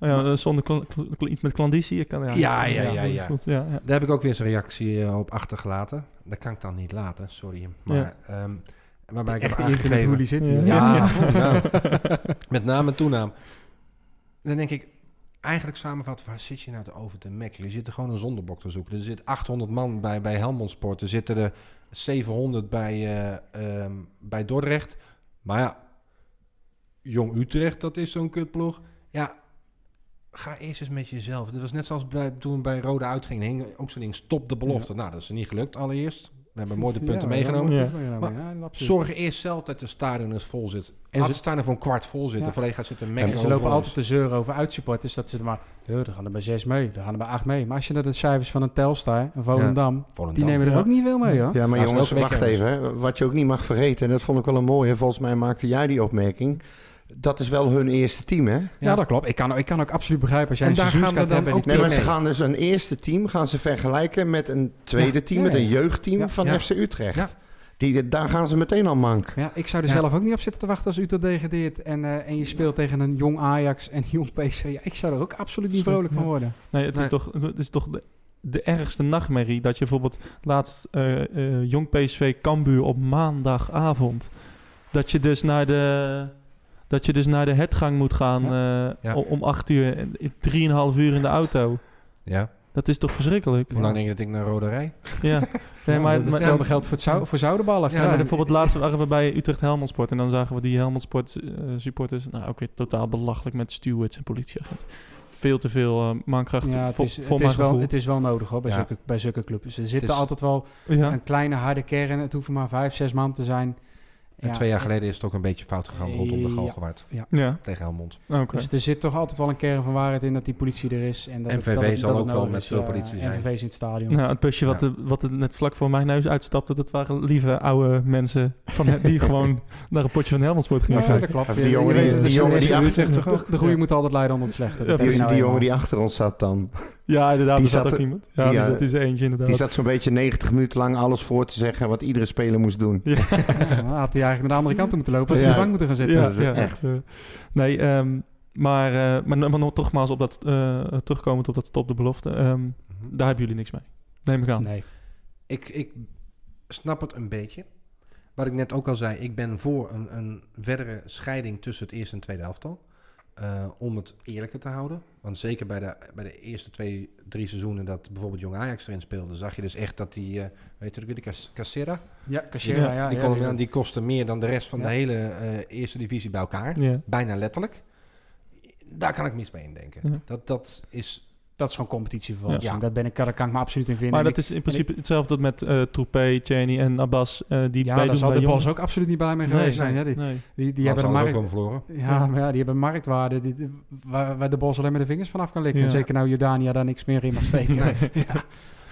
[SPEAKER 4] Oh ja, eh, zonder kla- kla- kla- iets met klandizie. Ik kan, ja,
[SPEAKER 5] Ja, ja, ja,
[SPEAKER 4] dat is
[SPEAKER 5] ja.
[SPEAKER 4] goed, ja, ja.
[SPEAKER 5] Daar heb ik ook weer zijn reactie eh, op achtergelaten. Dat kan ik dan niet laten, sorry. Maar, ehm waarbij ik heb
[SPEAKER 6] Echte
[SPEAKER 5] aangegeven...
[SPEAKER 6] internet hoe die zit eh.
[SPEAKER 4] Ja.
[SPEAKER 6] hier.
[SPEAKER 5] Ja, nou, met naam en toenaam. Dan denk ik, eigenlijk samenvat, waar zit je nou te over te mekken? Je zit er gewoon een zondebok te zoeken. Er zit 800 man bij, bij Helmond Sport. Er zitten er 700 bij, eh, ehm, bij Dordrecht. Maar ja, Jong Utrecht, dat is zo'n kutploeg. Ja, ga eerst eens met jezelf. Dat was net zoals bij, toen bij Rode uitging. Hing ook zo'n ding, stop de belofte. Nou, dat is niet gelukt allereerst. We hebben mooie punten meegenomen.
[SPEAKER 6] Ja,
[SPEAKER 4] meegenomen.
[SPEAKER 6] maar- ja, absoluut.
[SPEAKER 5] Zorg eerst zelf dat de stadion eens vol zit. En
[SPEAKER 6] En
[SPEAKER 5] Laat
[SPEAKER 6] ze-
[SPEAKER 5] de stadion voor een kwart vol zitten.
[SPEAKER 6] Ja.
[SPEAKER 5] Volledig gaat zitten
[SPEAKER 6] En
[SPEAKER 5] mengen.
[SPEAKER 6] ze lopen altijd te zeuren over uitsupporters. Dat ze er maar, "Huh, er gaan er maar zes mee, er gaan er maar acht mee. Maar als je naar de cijfers van een Telstar, een Volendam, die nemen er
[SPEAKER 4] Ja.
[SPEAKER 6] ook niet veel mee hoor.
[SPEAKER 7] Ja, maar
[SPEAKER 5] Ja,
[SPEAKER 7] jongens,
[SPEAKER 5] is ook
[SPEAKER 7] wacht
[SPEAKER 5] weekend.
[SPEAKER 7] even. hè. Wat je ook niet mag vergeten, en dat vond ik wel een mooie, volgens mij maakte jij die opmerking. Dat is wel hun eerste team, hè?
[SPEAKER 6] Ja, dat klopt. Ik kan, ik kan ook absoluut begrijpen als jij
[SPEAKER 5] En
[SPEAKER 6] een
[SPEAKER 5] daar gaan we
[SPEAKER 6] seizoenskaart
[SPEAKER 5] dan
[SPEAKER 6] hebt en
[SPEAKER 5] ook
[SPEAKER 6] die
[SPEAKER 7] Nee, maar ze
[SPEAKER 5] mee.
[SPEAKER 7] gaan dus een eerste team gaan ze vergelijken met een tweede
[SPEAKER 6] Ja,
[SPEAKER 7] team,
[SPEAKER 6] ja,
[SPEAKER 7] met een
[SPEAKER 6] ja.
[SPEAKER 7] jeugdteam
[SPEAKER 6] Ja.
[SPEAKER 7] van
[SPEAKER 5] Ja.
[SPEAKER 7] FC Utrecht.
[SPEAKER 5] Ja.
[SPEAKER 7] Die, daar gaan ze meteen al mank.
[SPEAKER 6] Ja, ik zou er
[SPEAKER 5] Ja.
[SPEAKER 6] zelf ook niet op zitten te wachten als Utrecht degradeert. En, eh, en je speelt tegen een jong Ajax en een jong PSV. Ja, ik zou er ook absoluut niet
[SPEAKER 4] Schrik,
[SPEAKER 6] vrolijk van
[SPEAKER 4] ja.
[SPEAKER 6] worden.
[SPEAKER 4] Nee, het, Is
[SPEAKER 5] Nee.
[SPEAKER 4] toch, het is toch de, de ergste nachtmerrie dat je bijvoorbeeld laatst eh, eh, jong PSV Cambuur op maandagavond dat je dus naar de dat je dus naar de hetgang moet gaan eh,
[SPEAKER 5] Ja.
[SPEAKER 4] o- om acht uur en in drieënhalf uur in de auto.
[SPEAKER 5] Ja.
[SPEAKER 4] Dat is toch verschrikkelijk.
[SPEAKER 5] Hoe lang denk je dat ik naar Rode Rij?
[SPEAKER 4] Ja. Nee,
[SPEAKER 6] Ja,
[SPEAKER 4] maar,
[SPEAKER 6] dat
[SPEAKER 4] maar,
[SPEAKER 6] hetzelfde geldt voor, het zou, voor Zoudenballen.
[SPEAKER 5] Ja,
[SPEAKER 4] ja, maar bijvoorbeeld laatst waren we bij Utrecht Helmond Sport en dan zagen we die Helmond Sport eh, supporters. Nou, ook weer totaal belachelijk met stewards en politieagenten. Veel te veel eh, mankracht
[SPEAKER 6] Ja, het
[SPEAKER 4] voor,
[SPEAKER 6] is,
[SPEAKER 4] voor
[SPEAKER 6] het,
[SPEAKER 4] mijn
[SPEAKER 6] is wel,
[SPEAKER 4] gevoel.
[SPEAKER 6] het is wel nodig hoor, bij,
[SPEAKER 5] Ja.
[SPEAKER 6] zulke, bij zulke clubs. Er zitten
[SPEAKER 5] is-
[SPEAKER 6] altijd wel
[SPEAKER 4] ja.
[SPEAKER 6] een kleine harde kern. Het hoeven maar vijf, zes man te zijn.
[SPEAKER 5] En
[SPEAKER 6] Ja,
[SPEAKER 5] twee jaar geleden is het ook een beetje fout gegaan rondom de
[SPEAKER 6] Ja.
[SPEAKER 5] Galgenwaard.
[SPEAKER 4] ja,
[SPEAKER 5] Tegen Helmond.
[SPEAKER 4] oké.
[SPEAKER 6] Dus er zit toch altijd wel een kern van waarheid in dat die politie er is. En dat het-
[SPEAKER 5] NVV
[SPEAKER 6] dat het-
[SPEAKER 5] zal
[SPEAKER 6] dat
[SPEAKER 5] ook
[SPEAKER 6] het
[SPEAKER 5] wel
[SPEAKER 6] nodig
[SPEAKER 5] met
[SPEAKER 6] is.
[SPEAKER 5] veel
[SPEAKER 6] Ja,
[SPEAKER 5] politie zijn.
[SPEAKER 6] NVV's in het stadion.
[SPEAKER 4] Nou, het busje wat,
[SPEAKER 5] Ja.
[SPEAKER 4] de- wat er net vlak voor mijn neus uitstapte, dat waren lieve oude mensen van, het- die gewoon naar een potje van Helmondsport
[SPEAKER 6] Ja,
[SPEAKER 4] gingen
[SPEAKER 6] ja,
[SPEAKER 4] kijken.
[SPEAKER 6] dat klopt.
[SPEAKER 7] Of
[SPEAKER 6] Je-
[SPEAKER 7] die
[SPEAKER 6] je
[SPEAKER 7] jongen die-
[SPEAKER 6] weet het,
[SPEAKER 7] die
[SPEAKER 6] de-
[SPEAKER 7] jongen die
[SPEAKER 6] de-
[SPEAKER 7] achter-
[SPEAKER 6] de- de- De goede moet altijd leiden onder het slechte.
[SPEAKER 4] Ja,
[SPEAKER 6] Dat
[SPEAKER 7] Die,
[SPEAKER 6] heb je nou
[SPEAKER 7] die
[SPEAKER 6] eenmaal.
[SPEAKER 7] jongen die achter ons zat dan,
[SPEAKER 4] Ja, inderdaad,
[SPEAKER 7] Die
[SPEAKER 4] er zat
[SPEAKER 7] zat
[SPEAKER 4] ook
[SPEAKER 7] er-
[SPEAKER 4] iemand. Ja,
[SPEAKER 7] die,
[SPEAKER 4] er
[SPEAKER 7] eh,
[SPEAKER 4] zat in zijn eentje inderdaad.
[SPEAKER 7] die zat zo'n beetje 90 minuten lang alles voor te zeggen wat iedere speler moest doen.
[SPEAKER 6] Ja, dan had hij eigenlijk naar de andere kant toe moeten lopen. Als hij op
[SPEAKER 7] Ja.
[SPEAKER 6] de bank moeten gaan zitten.
[SPEAKER 4] ja,
[SPEAKER 7] dat is
[SPEAKER 4] ja,
[SPEAKER 7] echt.
[SPEAKER 4] eh, nee, ehm, maar, eh, maar, maar nog nogmaals op dat, eh, terugkomend op dat top de belofte, ehm,
[SPEAKER 6] Mhm.
[SPEAKER 4] daar hebben jullie niks mee. Neem ik aan.
[SPEAKER 6] Nee.
[SPEAKER 5] Ik, ik snap het een beetje. Wat ik net ook al zei, ik ben voor een, een verdere scheiding tussen het eerste en tweede elftal. Eh, om het eerlijker te houden. Want zeker bij de, bij de eerste twee, drie seizoenen dat bijvoorbeeld Jong Ajax erin speelde, zag je dus echt dat die, eh weet je ook weer, de Cas- Casera,
[SPEAKER 6] Ja, Casera, ja.
[SPEAKER 5] die,
[SPEAKER 6] ja,
[SPEAKER 5] kon-
[SPEAKER 6] die-
[SPEAKER 5] die kostte meer dan de rest van
[SPEAKER 6] Ja.
[SPEAKER 5] de hele eh, eerste divisie bij elkaar.
[SPEAKER 4] Ja.
[SPEAKER 5] Bijna letterlijk. Daar kan ik mis mee indenken.
[SPEAKER 4] Ja.
[SPEAKER 5] Dat, dat is...
[SPEAKER 6] Dat is gewoon competitievervalsing.
[SPEAKER 5] Ja.
[SPEAKER 6] Dat ben ik, daar kan ik me absoluut in vinden.
[SPEAKER 4] Maar
[SPEAKER 6] En
[SPEAKER 4] dat is in principe hetzelfde met eh Troepé, Cheney en Abbas. eh, die
[SPEAKER 6] ik- ja,
[SPEAKER 4] meedoen
[SPEAKER 6] daar zal
[SPEAKER 4] bij
[SPEAKER 6] de
[SPEAKER 4] Jong-
[SPEAKER 6] Bos ook absoluut niet blij mee
[SPEAKER 4] Nee,
[SPEAKER 6] geweest zijn.
[SPEAKER 5] nee,
[SPEAKER 6] hè. Die,
[SPEAKER 4] Nee.
[SPEAKER 6] die, die hebben
[SPEAKER 5] Die hebben
[SPEAKER 6] een
[SPEAKER 5] ook
[SPEAKER 6] markt,
[SPEAKER 5] al verloren.
[SPEAKER 6] ja, maar ja, die hebben een marktwaarde die, die- waar, waar de Bos alleen maar de vingers van af kan likken.
[SPEAKER 4] Ja.
[SPEAKER 6] En zeker nou Jordania daar niks meer in mag steken.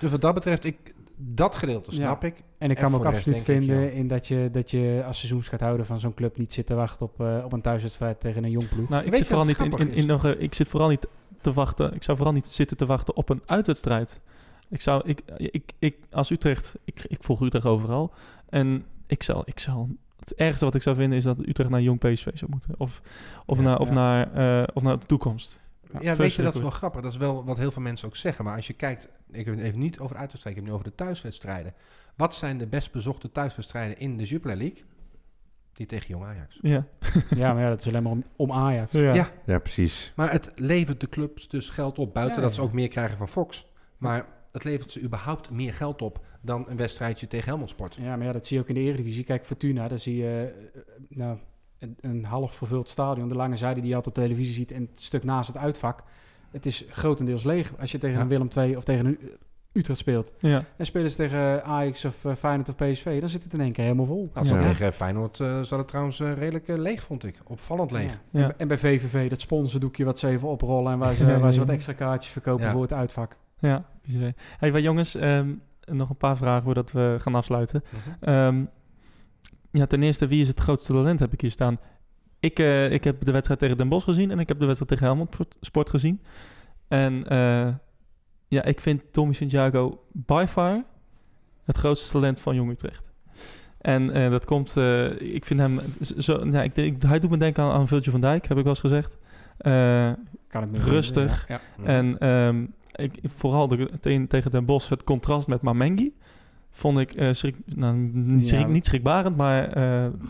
[SPEAKER 5] Dus wat dat betreft, ik, dat gedeelte
[SPEAKER 6] Ja.
[SPEAKER 5] snap ik.
[SPEAKER 6] En ik
[SPEAKER 5] En
[SPEAKER 6] kan me ook
[SPEAKER 5] voor de rest
[SPEAKER 6] absoluut
[SPEAKER 5] denk ik,
[SPEAKER 6] vinden in dat je, dat je als seizoens gaat houden van zo'n club niet zit te wachten op, eh, op een thuiswedstrijd tegen een jong ploeg.
[SPEAKER 4] Nou, ik
[SPEAKER 5] Weet
[SPEAKER 4] zit,
[SPEAKER 5] je
[SPEAKER 4] vooral
[SPEAKER 5] wat
[SPEAKER 4] niet in, in,
[SPEAKER 5] grappig
[SPEAKER 4] in
[SPEAKER 5] is?
[SPEAKER 4] nog, eh, ik zit vooral niet te wachten. Ik zou vooral niet zitten te wachten op een uitwedstrijd. Ik zou, ik, eh, ik, ik als Utrecht, ik, ik volg Utrecht overal. En ik zou, ik zou, het ergste wat ik zou vinden is dat Utrecht naar jong PSV zou moeten. Of, of,
[SPEAKER 5] Ja,
[SPEAKER 4] naar, of,
[SPEAKER 6] ja.
[SPEAKER 4] Naar, eh, of naar de toekomst.
[SPEAKER 5] Ja,
[SPEAKER 4] Ja,
[SPEAKER 5] weet je, dat is wel
[SPEAKER 4] verschrikkelijk.
[SPEAKER 5] grappig. Dat is wel wat heel veel mensen ook zeggen. Maar als je kijkt, ik heb het even niet over de uitwedstrijden, ik heb het nu over de thuiswedstrijden. Wat zijn de best bezochte thuiswedstrijden in de Jupiler League? Die tegen Jong Ajax.
[SPEAKER 4] Ja.
[SPEAKER 6] Ja, maar ja, dat is alleen maar om, om Ajax.
[SPEAKER 4] Ja.
[SPEAKER 5] Ja.
[SPEAKER 7] Ja, precies.
[SPEAKER 5] Maar het levert de clubs dus geld op. Buiten
[SPEAKER 6] Ja,
[SPEAKER 5] dat ze
[SPEAKER 6] ja.
[SPEAKER 5] ook meer krijgen van Fox. Maar het levert ze überhaupt meer geld op dan een wedstrijdje tegen Helmond Sport.
[SPEAKER 6] Ja, maar ja, dat zie je ook in de Eredivisie. Kijk, Fortuna, daar zie je eh, nou, een, een half vervuld stadion. De lange zijde die je altijd op televisie ziet en het stuk naast het uitvak. Het is grotendeels leeg als je tegen
[SPEAKER 5] Ja.
[SPEAKER 6] een Willem II of tegen een U- Utrecht speelt.
[SPEAKER 4] Ja.
[SPEAKER 6] En spelen ze tegen Ajax of eh, Feyenoord of PSV, dan zit het in één keer helemaal vol.
[SPEAKER 5] Nou, zo
[SPEAKER 7] Ja.
[SPEAKER 5] Tegen Feyenoord eh, zat het trouwens eh, redelijk eh, leeg, vond ik. Opvallend leeg.
[SPEAKER 6] Ja.
[SPEAKER 4] Ja.
[SPEAKER 6] En, bij- en bij VVV, dat sponsordoekje wat ze even oprollen en waar ze,
[SPEAKER 4] Ja,
[SPEAKER 6] waar ze
[SPEAKER 4] ja.
[SPEAKER 6] wat extra kaartjes verkopen
[SPEAKER 5] Ja.
[SPEAKER 6] voor het uitvak.
[SPEAKER 4] Ja, bizar. Hey, maar jongens, ehm, nog een paar vragen voordat we gaan afsluiten.
[SPEAKER 6] Mhm.
[SPEAKER 4] Ehm, ja, ten eerste, wie is het grootste talent heb ik hier staan? Ik, eh, ik heb de wedstrijd tegen Den Bosch gezien en ik heb de wedstrijd tegen Helmond Sport- Sport gezien. En eh, ja, ik vind Tommy Santiago by far het grootste talent van Jong Utrecht. En eh, dat komt, eh, ik vind hem, zo, nou, ik, denk- hij doet me denken aan, aan Viltje van Dijk, heb ik wel eens gezegd. Eh,
[SPEAKER 6] kan het
[SPEAKER 4] Rustig.
[SPEAKER 6] Ja.
[SPEAKER 5] Mhm.
[SPEAKER 4] En ehm, ik, vooral de, tegen- tegen Den Bos het contrast met Mamengi vond ik eh, schrik, nou, niet,
[SPEAKER 6] Ja.
[SPEAKER 4] schrik- niet schrikbarend, maar eh,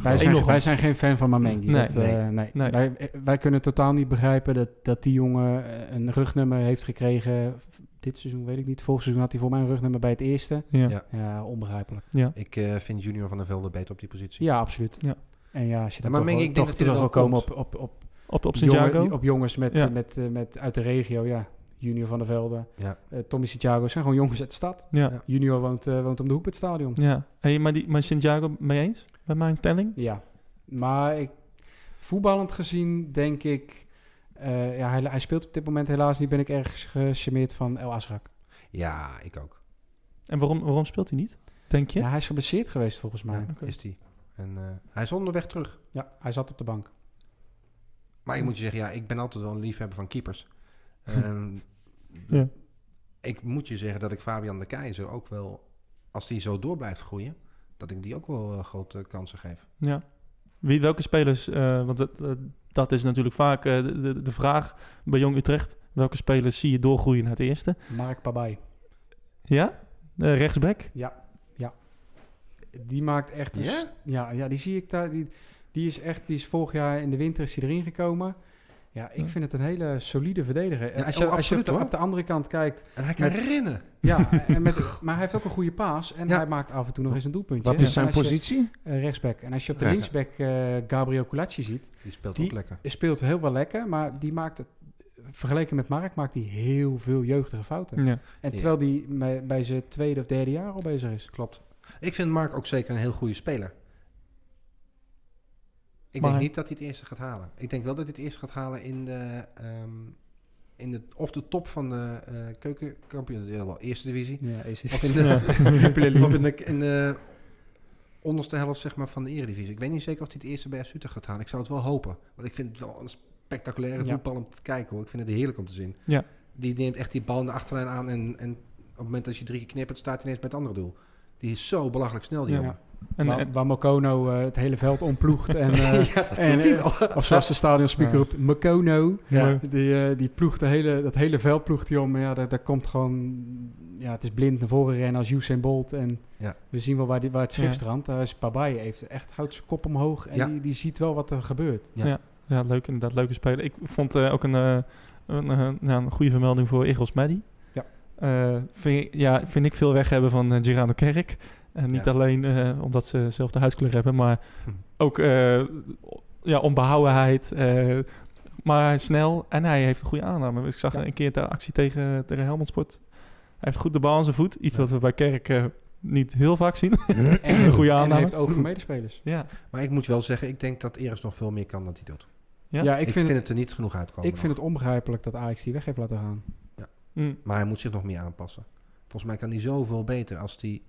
[SPEAKER 6] Wij, zijn,
[SPEAKER 4] enorm.
[SPEAKER 6] wij zijn geen fan van Mamengi.
[SPEAKER 4] Nee.
[SPEAKER 6] dat, eh,
[SPEAKER 7] Nee.
[SPEAKER 6] nee.
[SPEAKER 4] Nee.
[SPEAKER 6] Wij, eh, wij kunnen totaal niet begrijpen dat, dat die jongen eh, een rugnummer heeft gekregen. Dit seizoen weet ik niet. Vorig seizoen had hij voor mij een rugnummer bij het eerste.
[SPEAKER 4] Ja.
[SPEAKER 5] Ja.
[SPEAKER 6] Ja, onbegrijpelijk.
[SPEAKER 5] Ik eh, vind Junior van der Velde beter op die positie.
[SPEAKER 6] Ja, absoluut.
[SPEAKER 4] Ja.
[SPEAKER 6] En ja, als je dan
[SPEAKER 5] Maar
[SPEAKER 6] toch,
[SPEAKER 5] Mengi,
[SPEAKER 6] wel-
[SPEAKER 5] ik denk
[SPEAKER 6] toch
[SPEAKER 5] dat
[SPEAKER 6] terug
[SPEAKER 5] hij er
[SPEAKER 6] wil
[SPEAKER 5] wel
[SPEAKER 6] komen op,
[SPEAKER 5] komt.
[SPEAKER 6] op, op,
[SPEAKER 4] op, op Santiago.
[SPEAKER 6] jongen, op jongens met,
[SPEAKER 4] Ja.
[SPEAKER 6] eh, met, eh, met, uit de regio. Ja, Junior van der Velde,
[SPEAKER 5] Ja.
[SPEAKER 6] eh, Tommy Santiago zijn gewoon jongens uit de stad.
[SPEAKER 4] ja.
[SPEAKER 5] Ja.
[SPEAKER 6] Junior woont, eh, woont om de hoek bij het stadion.
[SPEAKER 4] Ja, hey, maar, die, maar Santiago mee eens met mijn stelling?
[SPEAKER 6] Ja, maar ik, voetballend gezien denk ik... eh, ja, hij, hij speelt op dit moment helaas niet. Ben ik erg gecharmeerd van El Azrak.
[SPEAKER 5] Ja, ik ook.
[SPEAKER 4] En waarom, waarom speelt hij niet? Denk je?
[SPEAKER 6] Ja, hij is geblesseerd geweest volgens mij.
[SPEAKER 5] Ja, Is die. En eh, hij is onderweg terug.
[SPEAKER 6] Ja, hij zat op de bank.
[SPEAKER 5] Maar ik moet je zeggen, ja, ik ben altijd wel een liefhebber van keepers. Ehm,
[SPEAKER 4] Ja.
[SPEAKER 5] Ik moet je zeggen dat ik Fabian de Keizer ook wel, als die zo door blijft groeien, dat ik die ook wel eh, grote kansen geef.
[SPEAKER 4] Ja. Wie, welke spelers, eh, want dat, dat- dat is natuurlijk vaak eh, de, de, de vraag bij Jong Utrecht. Welke spelers zie je doorgroeien naar het eerste?
[SPEAKER 6] Mark Pabay.
[SPEAKER 4] Ja? Eh, rechtsback?
[SPEAKER 6] Die maakt echt... Een
[SPEAKER 5] Ja?
[SPEAKER 6] s- ja, ja, die zie ik daar. Die, die is echt... Die is vorig jaar in de winter is die erin gekomen. Ja, ik
[SPEAKER 4] Ja.
[SPEAKER 6] vind het een hele solide verdediger. En
[SPEAKER 5] Ja,
[SPEAKER 6] als
[SPEAKER 5] oh,
[SPEAKER 6] je, als je
[SPEAKER 5] absoluut,
[SPEAKER 6] op, de,
[SPEAKER 5] hoor.
[SPEAKER 6] op de andere kant kijkt...
[SPEAKER 5] En hij kan
[SPEAKER 6] Met-
[SPEAKER 5] rennen.
[SPEAKER 6] Ja, en met, maar hij heeft ook een goede paas. En
[SPEAKER 5] Ja.
[SPEAKER 6] hij maakt af en toe nog eens een doelpuntje.
[SPEAKER 7] Wat is
[SPEAKER 6] En
[SPEAKER 7] zijn
[SPEAKER 6] als je-
[SPEAKER 7] positie?
[SPEAKER 6] eh, rechtsback. En als je op de
[SPEAKER 7] Ja.
[SPEAKER 6] linksback eh, Gabriel Collaci ziet...
[SPEAKER 5] Die speelt
[SPEAKER 6] Die-
[SPEAKER 5] ook lekker.
[SPEAKER 6] Hij speelt heel wel lekker, maar die maakt het... Vergeleken met Mark maakt hij heel veel jeugdige fouten.
[SPEAKER 4] Ja.
[SPEAKER 6] En terwijl die me- bij zijn tweede of derde jaar al bezig is.
[SPEAKER 5] Klopt. Ik vind Mark ook zeker een heel goede speler. Ik
[SPEAKER 4] Maar-
[SPEAKER 5] denk niet dat hij het eerste gaat halen. Ik denk wel dat hij het eerste gaat halen in de, ehm, in de of de top van de eh keukenkampioen, ja, wel, eerste divisie.
[SPEAKER 6] Ja, is
[SPEAKER 5] Of in de, of in de, in de onderste helft zeg maar, van de eredivisie. Ik weet niet zeker of hij het eerste bij Suter gaat halen. Ik zou het wel hopen. Want ik vind het wel een spectaculaire
[SPEAKER 6] Ja.
[SPEAKER 5] voetbal om te kijken. Hoor. Ik vind het heerlijk om te zien.
[SPEAKER 4] Ja.
[SPEAKER 5] Die neemt echt die bal in de achterlijn aan. En, en op het moment dat je drie keer knippert, staat hij ineens bij het andere doel. Die is zo belachelijk snel, die
[SPEAKER 4] Ja.
[SPEAKER 5] jongen.
[SPEAKER 4] En,
[SPEAKER 6] waar,
[SPEAKER 4] en-
[SPEAKER 6] waar Mokono eh, het hele veld omploegt. En, eh, en, eh, of zoals de stadionspeaker
[SPEAKER 4] Ja.
[SPEAKER 6] roept, Mokono.
[SPEAKER 4] Ja.
[SPEAKER 6] Die, eh, die ploegt de hele, dat hele veld ploegt hij om. Maar ja, daar, daar komt gewoon... Ja, het is blind naar voren rennen als Usain Bolt. En
[SPEAKER 5] Ja.
[SPEAKER 6] we zien wel waar, die, waar het schip
[SPEAKER 4] Ja.
[SPEAKER 6] strandt. Daar is Pabai heeft echt houdt zijn kop omhoog. En
[SPEAKER 5] Ja.
[SPEAKER 6] die, die ziet wel wat er gebeurt.
[SPEAKER 4] ja, leuk, inderdaad, leuke speler. Ik vond eh, ook een, eh, een, eh, nou, een goede vermelding voor Igos Maddy.
[SPEAKER 6] Ja.
[SPEAKER 4] Eh, vind, ik, ja, vind ik veel weg hebben van eh, Girano Kerk. En niet
[SPEAKER 5] Ja.
[SPEAKER 4] alleen eh, omdat ze zelf de huidskleur hebben, maar
[SPEAKER 5] Hm.
[SPEAKER 4] ook eh, ja, onbehouwenheid. eh, maar hij is snel en hij heeft een goede aanname. Ik zag
[SPEAKER 6] Ja.
[SPEAKER 4] een keer de actie tegen, tegen Helmond Sport. Hij heeft goed de bal aan zijn voet. Iets
[SPEAKER 5] Ja.
[SPEAKER 4] wat we bij Kerk eh, niet heel vaak zien.
[SPEAKER 6] En,
[SPEAKER 4] Een goede
[SPEAKER 6] en
[SPEAKER 4] aanname.
[SPEAKER 6] hij heeft oog voor medespelers.
[SPEAKER 4] ja.
[SPEAKER 5] Maar ik moet wel zeggen, ik denk dat Eres nog veel meer kan dan hij doet.
[SPEAKER 4] Ja,
[SPEAKER 6] Ja,
[SPEAKER 5] Ik,
[SPEAKER 6] ik,
[SPEAKER 5] vind,
[SPEAKER 6] het,
[SPEAKER 5] het er niet genoeg uitkomen.
[SPEAKER 6] ik vind
[SPEAKER 5] nog.
[SPEAKER 6] het onbegrijpelijk dat Ajax die weg heeft laten gaan.
[SPEAKER 4] Mm.
[SPEAKER 5] Maar hij moet zich nog meer aanpassen. Volgens mij kan hij zoveel beter als die...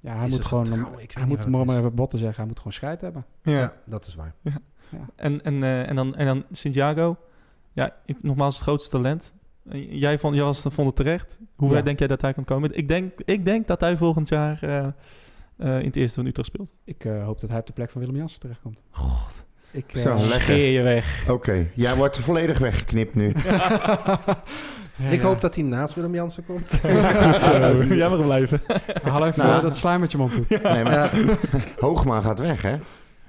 [SPEAKER 6] Ja, hij
[SPEAKER 5] Is
[SPEAKER 6] moet
[SPEAKER 5] het
[SPEAKER 6] gewoon...
[SPEAKER 5] vertrouwen? Ik weet
[SPEAKER 6] hij
[SPEAKER 5] niet
[SPEAKER 6] moet,
[SPEAKER 5] wat
[SPEAKER 6] om
[SPEAKER 5] het
[SPEAKER 6] maar
[SPEAKER 5] is.
[SPEAKER 6] even botten zeggen, hij moet gewoon scheid hebben.
[SPEAKER 4] ja.
[SPEAKER 5] ja, dat is waar.
[SPEAKER 4] En, en, eh, en, dan, en dan Santiago. Ja, ik, nogmaals, het grootste talent. Eh, Jij vond, jij was, vond het terecht. Hoe ver
[SPEAKER 6] Ja.
[SPEAKER 4] denk jij dat hij kan komen? Ik denk, ik denk dat hij volgend jaar eh, eh, in het eerste van Utrecht speelt.
[SPEAKER 6] Ik eh, hoop dat hij op de plek van Willem Jansen terechtkomt. Ik, eh,
[SPEAKER 7] Zo, lekker.
[SPEAKER 4] je weg.
[SPEAKER 7] Oké, jij wordt volledig weggeknipt nu.
[SPEAKER 6] ja,
[SPEAKER 5] ik
[SPEAKER 6] ja.
[SPEAKER 5] hoop dat hij naast Willem Jansen komt.
[SPEAKER 4] Goed zo. Jij mag blijven.
[SPEAKER 6] Haal even
[SPEAKER 7] Nou.
[SPEAKER 6] eh, dat slijmertje man toe.
[SPEAKER 7] Nee, maar Hoogma gaat weg, hè?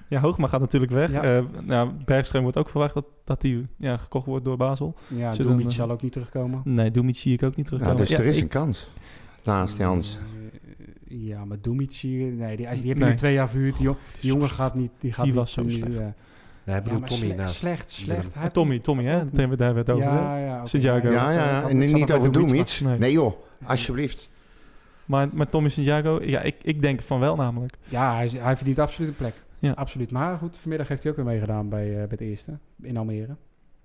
[SPEAKER 4] Ja, Hoogma gaat natuurlijk weg.
[SPEAKER 6] Ja.
[SPEAKER 4] Eh, nou, Bergström wordt ook verwacht dat hij dat die, ja, gekocht wordt door Basel.
[SPEAKER 6] Ja,
[SPEAKER 4] Zit
[SPEAKER 6] Doemit
[SPEAKER 4] dan, eh,
[SPEAKER 6] zal ook niet terugkomen.
[SPEAKER 4] Nee, Doemit zie ik ook niet terugkomen.
[SPEAKER 7] Nou, dus
[SPEAKER 4] Ja,
[SPEAKER 7] er is
[SPEAKER 4] ik-
[SPEAKER 7] een kans. Naast Jans.
[SPEAKER 6] Eh, Ja, maar Doemits hier... Nee, die, die heb je
[SPEAKER 4] Nee.
[SPEAKER 6] nu twee jaar verhuurd. Die, jong- die jongen gaat niet... Die, gaat
[SPEAKER 4] Die
[SPEAKER 6] niet
[SPEAKER 4] was zo
[SPEAKER 6] nu,
[SPEAKER 4] slecht.
[SPEAKER 6] eh,
[SPEAKER 5] Nee, hij
[SPEAKER 6] ja,
[SPEAKER 5] bedoelt
[SPEAKER 6] maar
[SPEAKER 5] Tommy
[SPEAKER 6] sle-
[SPEAKER 5] naast.
[SPEAKER 6] slecht, slecht. Hij-
[SPEAKER 4] Ah, Tommy, Tommy, hè? Daar hebben we daar het over.
[SPEAKER 6] Ja, ja. oké.
[SPEAKER 4] Santiago.
[SPEAKER 6] ik
[SPEAKER 7] Ja,
[SPEAKER 6] had, eh, ik
[SPEAKER 7] ja,
[SPEAKER 6] had-
[SPEAKER 7] en
[SPEAKER 6] ik zat
[SPEAKER 7] niet
[SPEAKER 6] nog
[SPEAKER 7] over
[SPEAKER 6] bij Doemits,
[SPEAKER 7] Doemits.
[SPEAKER 4] Nee.
[SPEAKER 7] Nee joh, alsjeblieft.
[SPEAKER 4] Maar, maar Tommy Santiago, ja, ik, ik denk van wel namelijk.
[SPEAKER 6] Ja, hij, hij verdient absoluut een plek.
[SPEAKER 4] Ja.
[SPEAKER 6] Absoluut. Maar goed, vanmiddag heeft hij ook weer meegedaan bij, eh, bij het eerste in Almere.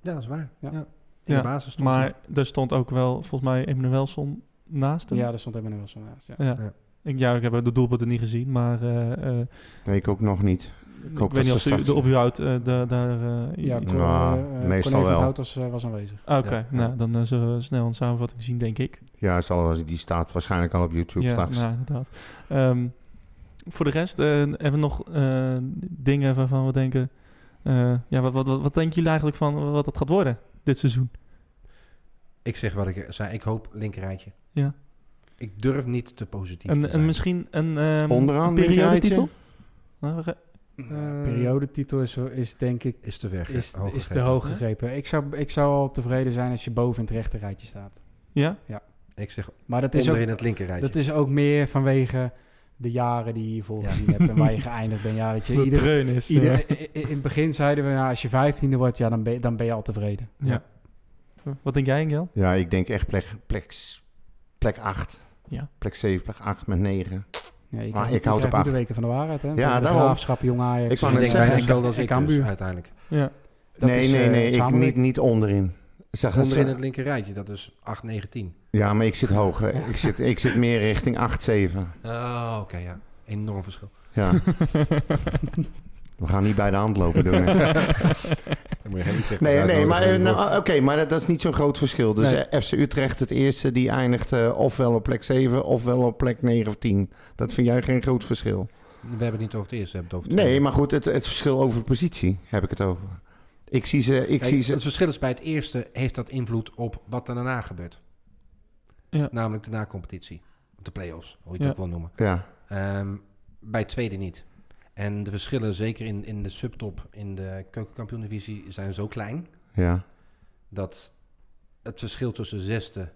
[SPEAKER 5] Ja, dat is waar. Ja.
[SPEAKER 6] Ja.
[SPEAKER 5] In
[SPEAKER 4] Ja,
[SPEAKER 5] de basis stond hij.
[SPEAKER 4] Maar er stond ook wel, volgens mij, Emmanuelson naast hem.
[SPEAKER 6] Ja, daar stond Emmanuel zo naast. Ja.
[SPEAKER 4] Ja.
[SPEAKER 5] Ja.
[SPEAKER 4] Ik, ja, ik heb de doelpunten niet gezien, maar eh, eh,
[SPEAKER 7] Nee, ik ook nog niet.
[SPEAKER 4] ik,
[SPEAKER 7] hoop dat
[SPEAKER 4] weet niet
[SPEAKER 7] ze
[SPEAKER 4] of ze
[SPEAKER 7] straks-
[SPEAKER 4] de ophoudt eh, da- daar eh,
[SPEAKER 6] Ja,
[SPEAKER 4] iets...
[SPEAKER 7] Nou,
[SPEAKER 6] eh, eh,
[SPEAKER 7] meestal
[SPEAKER 6] Corné van
[SPEAKER 7] wel.
[SPEAKER 6] Hout was, eh, was aanwezig.
[SPEAKER 4] Ah, Oké,
[SPEAKER 5] Ja, ja.
[SPEAKER 4] nou, dan eh, zullen we snel een samenvatting zien, denk ik.
[SPEAKER 7] Ja, zal, die staat waarschijnlijk al op YouTube
[SPEAKER 4] ja,
[SPEAKER 7] straks.
[SPEAKER 4] nou, inderdaad. Ehm, voor de rest eh, hebben we nog eh, dingen waarvan we denken... eh, ja, wat, wat, wat, wat denken jullie eigenlijk van wat dat gaat worden dit seizoen?
[SPEAKER 5] Ik zeg wat ik zei. Ik hoop linkerrijtje.
[SPEAKER 4] Ja.
[SPEAKER 5] Ik durf niet te positief te
[SPEAKER 4] En,
[SPEAKER 5] zijn.
[SPEAKER 4] en misschien een, ehm
[SPEAKER 7] Onderaan
[SPEAKER 4] een
[SPEAKER 7] een
[SPEAKER 4] periodetitel?
[SPEAKER 7] rijtje?
[SPEAKER 4] Nou, we gaan-
[SPEAKER 5] Eh,
[SPEAKER 6] Periodetitel is, is denk ik
[SPEAKER 5] is te weg. hè?
[SPEAKER 6] is,
[SPEAKER 5] Hoog
[SPEAKER 6] is te
[SPEAKER 5] gegrepen.
[SPEAKER 6] hoog gegrepen. Ik zou, ik zou al tevreden zijn als je boven in het rechterrijtje staat.
[SPEAKER 4] Ja?
[SPEAKER 5] Ik zeg
[SPEAKER 6] Maar dat is,
[SPEAKER 5] onderin
[SPEAKER 6] ook,
[SPEAKER 5] het linkerrijtje.
[SPEAKER 6] dat is ook meer vanwege de jaren die je hiervoor
[SPEAKER 5] Ja.
[SPEAKER 6] gezien hebt en waar je geëindigd bent. Ja, dat je,
[SPEAKER 4] De
[SPEAKER 6] ieder,
[SPEAKER 4] dreun is. eh,
[SPEAKER 6] ieder- i- i- in het begin zeiden we, nou, als je vijftiende wordt, ja, dan, ben, je- dan ben je al tevreden.
[SPEAKER 4] ja. Wat denk jij, Engel?
[SPEAKER 7] Ja, ik denk echt plek, plek, s- plek 8.
[SPEAKER 4] Ja.
[SPEAKER 7] Plek 7, plek 8 met 9.
[SPEAKER 6] Ja, je
[SPEAKER 7] Maar
[SPEAKER 6] krijgt-
[SPEAKER 7] Ah, ik
[SPEAKER 6] je
[SPEAKER 7] houd
[SPEAKER 6] krijgt
[SPEAKER 7] op
[SPEAKER 6] iedere weken van de waarheid, hè? Van de
[SPEAKER 7] daarom.
[SPEAKER 6] Graafschap, Jong Ajax.
[SPEAKER 7] Ik wou
[SPEAKER 5] Ik
[SPEAKER 7] net
[SPEAKER 5] denk bijna
[SPEAKER 7] zeggen,
[SPEAKER 5] hetzelfde als ik
[SPEAKER 6] Cambuur.
[SPEAKER 5] dus, uiteindelijk.
[SPEAKER 4] Ja.
[SPEAKER 6] Dat
[SPEAKER 7] nee,
[SPEAKER 6] is,
[SPEAKER 7] nee,
[SPEAKER 6] eh,
[SPEAKER 7] nee, ik
[SPEAKER 6] Samenwerking.
[SPEAKER 7] niet, niet onderin. Zeg, het
[SPEAKER 5] Onderin
[SPEAKER 7] zo-
[SPEAKER 5] het linkerrijtje, dat is 8, 9, 10.
[SPEAKER 7] Ja, maar ik zit hoger. Ik, zit, ik zit meer richting 8, 7.
[SPEAKER 5] Oh, oké, ja. Enorm verschil.
[SPEAKER 7] Ja. We gaan niet bij de hand lopen doen. hè.
[SPEAKER 5] Dan moet je heel Utrecht
[SPEAKER 7] Nee,
[SPEAKER 5] eens
[SPEAKER 7] nee,
[SPEAKER 5] uitnodigen
[SPEAKER 7] maar, eh,
[SPEAKER 5] voor die
[SPEAKER 7] nou, oké, maar dat, dat is niet zo'n groot verschil. Dus
[SPEAKER 6] Nee.
[SPEAKER 7] eh, FC Utrecht, het eerste, die eindigt eh, ofwel op plek 7, ofwel op plek 9 of 10. Dat vind jij geen groot verschil.
[SPEAKER 5] We hebben het niet over het eerste, we hebben het over het
[SPEAKER 7] Nee,
[SPEAKER 5] tweede.
[SPEAKER 7] maar goed, het, het verschil over positie heb ik het over. Ik zie ze, ik
[SPEAKER 5] Kijk,
[SPEAKER 7] zie ze
[SPEAKER 5] Het verschil is bij het eerste heeft dat invloed op wat er daarna gebeurt.
[SPEAKER 4] Ja.
[SPEAKER 5] Namelijk de na-competitie. Of De play-offs, hoe je het
[SPEAKER 4] Ja.
[SPEAKER 5] ook wil noemen.
[SPEAKER 7] ja,
[SPEAKER 5] Ehm, bij het tweede niet. En de verschillen, zeker in, in de subtop, in de keukenkampioen-divisie, zijn zo klein...
[SPEAKER 7] ja,
[SPEAKER 5] dat het verschil tussen zesde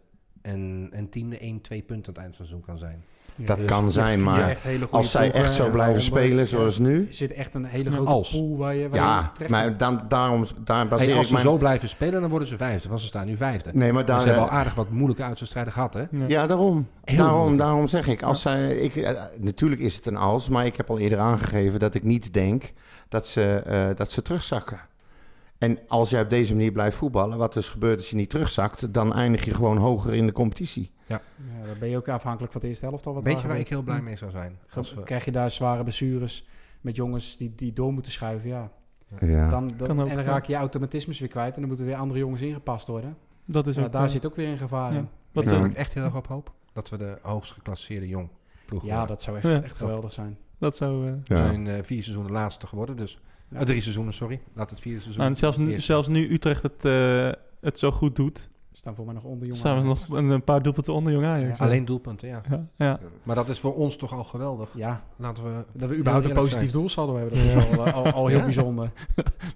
[SPEAKER 5] en, en tiende 1, 2 punten aan het eind van het seizoen kan zijn.
[SPEAKER 6] Ja,
[SPEAKER 7] dat
[SPEAKER 6] dus
[SPEAKER 7] kan
[SPEAKER 6] je
[SPEAKER 7] zijn,
[SPEAKER 6] hebt vier
[SPEAKER 7] maar
[SPEAKER 6] echt hele goede
[SPEAKER 7] als zij
[SPEAKER 6] ploegen eh,
[SPEAKER 7] echt zo
[SPEAKER 6] en
[SPEAKER 7] blijven
[SPEAKER 6] daaronder-
[SPEAKER 7] spelen zoals nu...
[SPEAKER 6] Er zit echt een hele
[SPEAKER 5] Nou,
[SPEAKER 6] grote
[SPEAKER 5] als.
[SPEAKER 6] pool waar je, waar je
[SPEAKER 7] Ja,
[SPEAKER 6] terecht kunt.
[SPEAKER 7] maar dan, daarom, daar baseer
[SPEAKER 5] Hey, als
[SPEAKER 7] ik
[SPEAKER 5] ze
[SPEAKER 7] mijn...
[SPEAKER 5] zo blijven spelen, dan worden ze vijfde, want ze staan nu vijfde.
[SPEAKER 7] Nee, maar
[SPEAKER 5] Maar
[SPEAKER 7] daar,
[SPEAKER 5] ze hebben
[SPEAKER 7] eh,
[SPEAKER 5] al aardig wat moeilijke uitwedstrijden gehad, hè?
[SPEAKER 7] Ja, daarom.
[SPEAKER 5] Heel
[SPEAKER 7] Daarom,
[SPEAKER 5] moeilijk.
[SPEAKER 7] daarom zeg ik. Als zij, ik eh, natuurlijk is het een als, maar ik heb al eerder aangegeven dat ik niet denk dat ze, eh, dat ze terugzakken. En als jij op deze manier blijft voetballen, wat dus gebeurt als je niet terugzakt, dan eindig je gewoon hoger in de competitie.
[SPEAKER 6] Ja, dan ben je ook afhankelijk van de eerste helft al. Wat
[SPEAKER 5] Weet
[SPEAKER 6] daar
[SPEAKER 5] je waar ik
[SPEAKER 6] gebeurt.
[SPEAKER 5] heel blij mee zou zijn? Als
[SPEAKER 6] Dan
[SPEAKER 5] we,
[SPEAKER 6] krijg je daar zware blessures met jongens die, die door moeten schuiven, ja.
[SPEAKER 7] Ja.
[SPEAKER 6] Dan, dan-
[SPEAKER 4] Kan ook,
[SPEAKER 6] en dan
[SPEAKER 4] ja.
[SPEAKER 6] raak je je automatismes weer kwijt en dan moeten weer andere jongens ingepast worden.
[SPEAKER 4] Dat is
[SPEAKER 6] Ja,
[SPEAKER 4] ook...
[SPEAKER 6] daar
[SPEAKER 4] eh,
[SPEAKER 6] zit ook weer een gevaar
[SPEAKER 4] ja.
[SPEAKER 6] in.
[SPEAKER 5] weet
[SPEAKER 4] wat,
[SPEAKER 5] je
[SPEAKER 7] Ja.
[SPEAKER 5] waar
[SPEAKER 4] eh,
[SPEAKER 5] ik echt heel erg op hoop? Dat we de hoogst geclasseerde jong ploeg
[SPEAKER 6] Ja,
[SPEAKER 5] worden.
[SPEAKER 6] dat zou echt,
[SPEAKER 4] Ja.
[SPEAKER 6] echt geweldig zijn.
[SPEAKER 4] dat zou... eh,
[SPEAKER 5] We zijn eh, vier seizoenen laatste geworden, dus... eh, drie seizoenen, sorry. Laat het vierde seizoen.
[SPEAKER 4] nou, en zelfs, nu,
[SPEAKER 5] eerste.
[SPEAKER 4] zelfs nu Utrecht het, eh, het zo goed doet,
[SPEAKER 6] Ze staan voor mij nog onder jongen.
[SPEAKER 4] staan we nog een, een paar doelpunten onder Jong Ajax.
[SPEAKER 6] Ja.
[SPEAKER 5] Alleen doelpunten, ja.
[SPEAKER 4] Ja, ja.
[SPEAKER 5] Maar dat is voor ons toch al geweldig.
[SPEAKER 6] Ja,
[SPEAKER 5] Laten we...
[SPEAKER 6] dat we überhaupt een
[SPEAKER 5] eerlijk
[SPEAKER 6] positief
[SPEAKER 5] zijn.
[SPEAKER 6] doel
[SPEAKER 5] Oh,
[SPEAKER 6] zouden hebben, dat is al, eh, al, al heel
[SPEAKER 7] Ja.
[SPEAKER 6] bijzonder.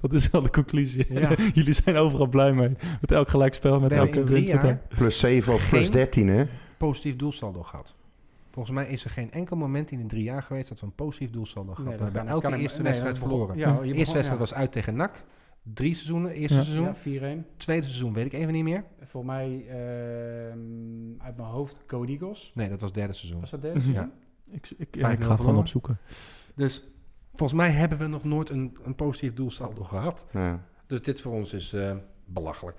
[SPEAKER 4] dat is wel de conclusie.
[SPEAKER 6] Ja.
[SPEAKER 4] Jullie zijn overal blij mee. Met elk gelijkspel, met
[SPEAKER 5] We hebben
[SPEAKER 4] elke
[SPEAKER 5] in drie
[SPEAKER 4] winst. met
[SPEAKER 5] jaar
[SPEAKER 4] elk-
[SPEAKER 7] Plus 7 of plus
[SPEAKER 5] Geen-
[SPEAKER 7] 13, hè?
[SPEAKER 5] positief doelsaldo gehad. Volgens mij is er geen enkel moment in die drie jaar geweest dat we een positief doelsaldo gehad
[SPEAKER 6] Nee,
[SPEAKER 5] hebben.
[SPEAKER 6] dat
[SPEAKER 5] We hebben
[SPEAKER 6] kan-
[SPEAKER 5] elke
[SPEAKER 6] kan ik-
[SPEAKER 5] eerste
[SPEAKER 6] nee,
[SPEAKER 5] wedstrijd
[SPEAKER 6] dat begon-
[SPEAKER 5] verloren.
[SPEAKER 6] Ja, je
[SPEAKER 5] De
[SPEAKER 6] begon-
[SPEAKER 5] eerste wedstrijd
[SPEAKER 6] ja.
[SPEAKER 5] was uit tegen NAC. Drie seizoenen. Eerste
[SPEAKER 4] Ja.
[SPEAKER 5] seizoen.
[SPEAKER 6] Ja, 4-1.
[SPEAKER 5] Tweede seizoen weet ik even niet meer.
[SPEAKER 6] Voor mij ehm, uit mijn hoofd Go Eagles.
[SPEAKER 5] Nee, dat was derde seizoen.
[SPEAKER 6] Was dat derde?
[SPEAKER 4] Mhm.
[SPEAKER 6] seizoen?
[SPEAKER 5] Ja.
[SPEAKER 4] Ik, ik,
[SPEAKER 5] Vijf-nul
[SPEAKER 4] ik ga het gewoon
[SPEAKER 5] verloren.
[SPEAKER 4] opzoeken.
[SPEAKER 5] Dus volgens mij hebben we nog nooit een, een positief doelsaldo gehad.
[SPEAKER 7] Ja.
[SPEAKER 5] Dus dit voor ons is eh, belachelijk.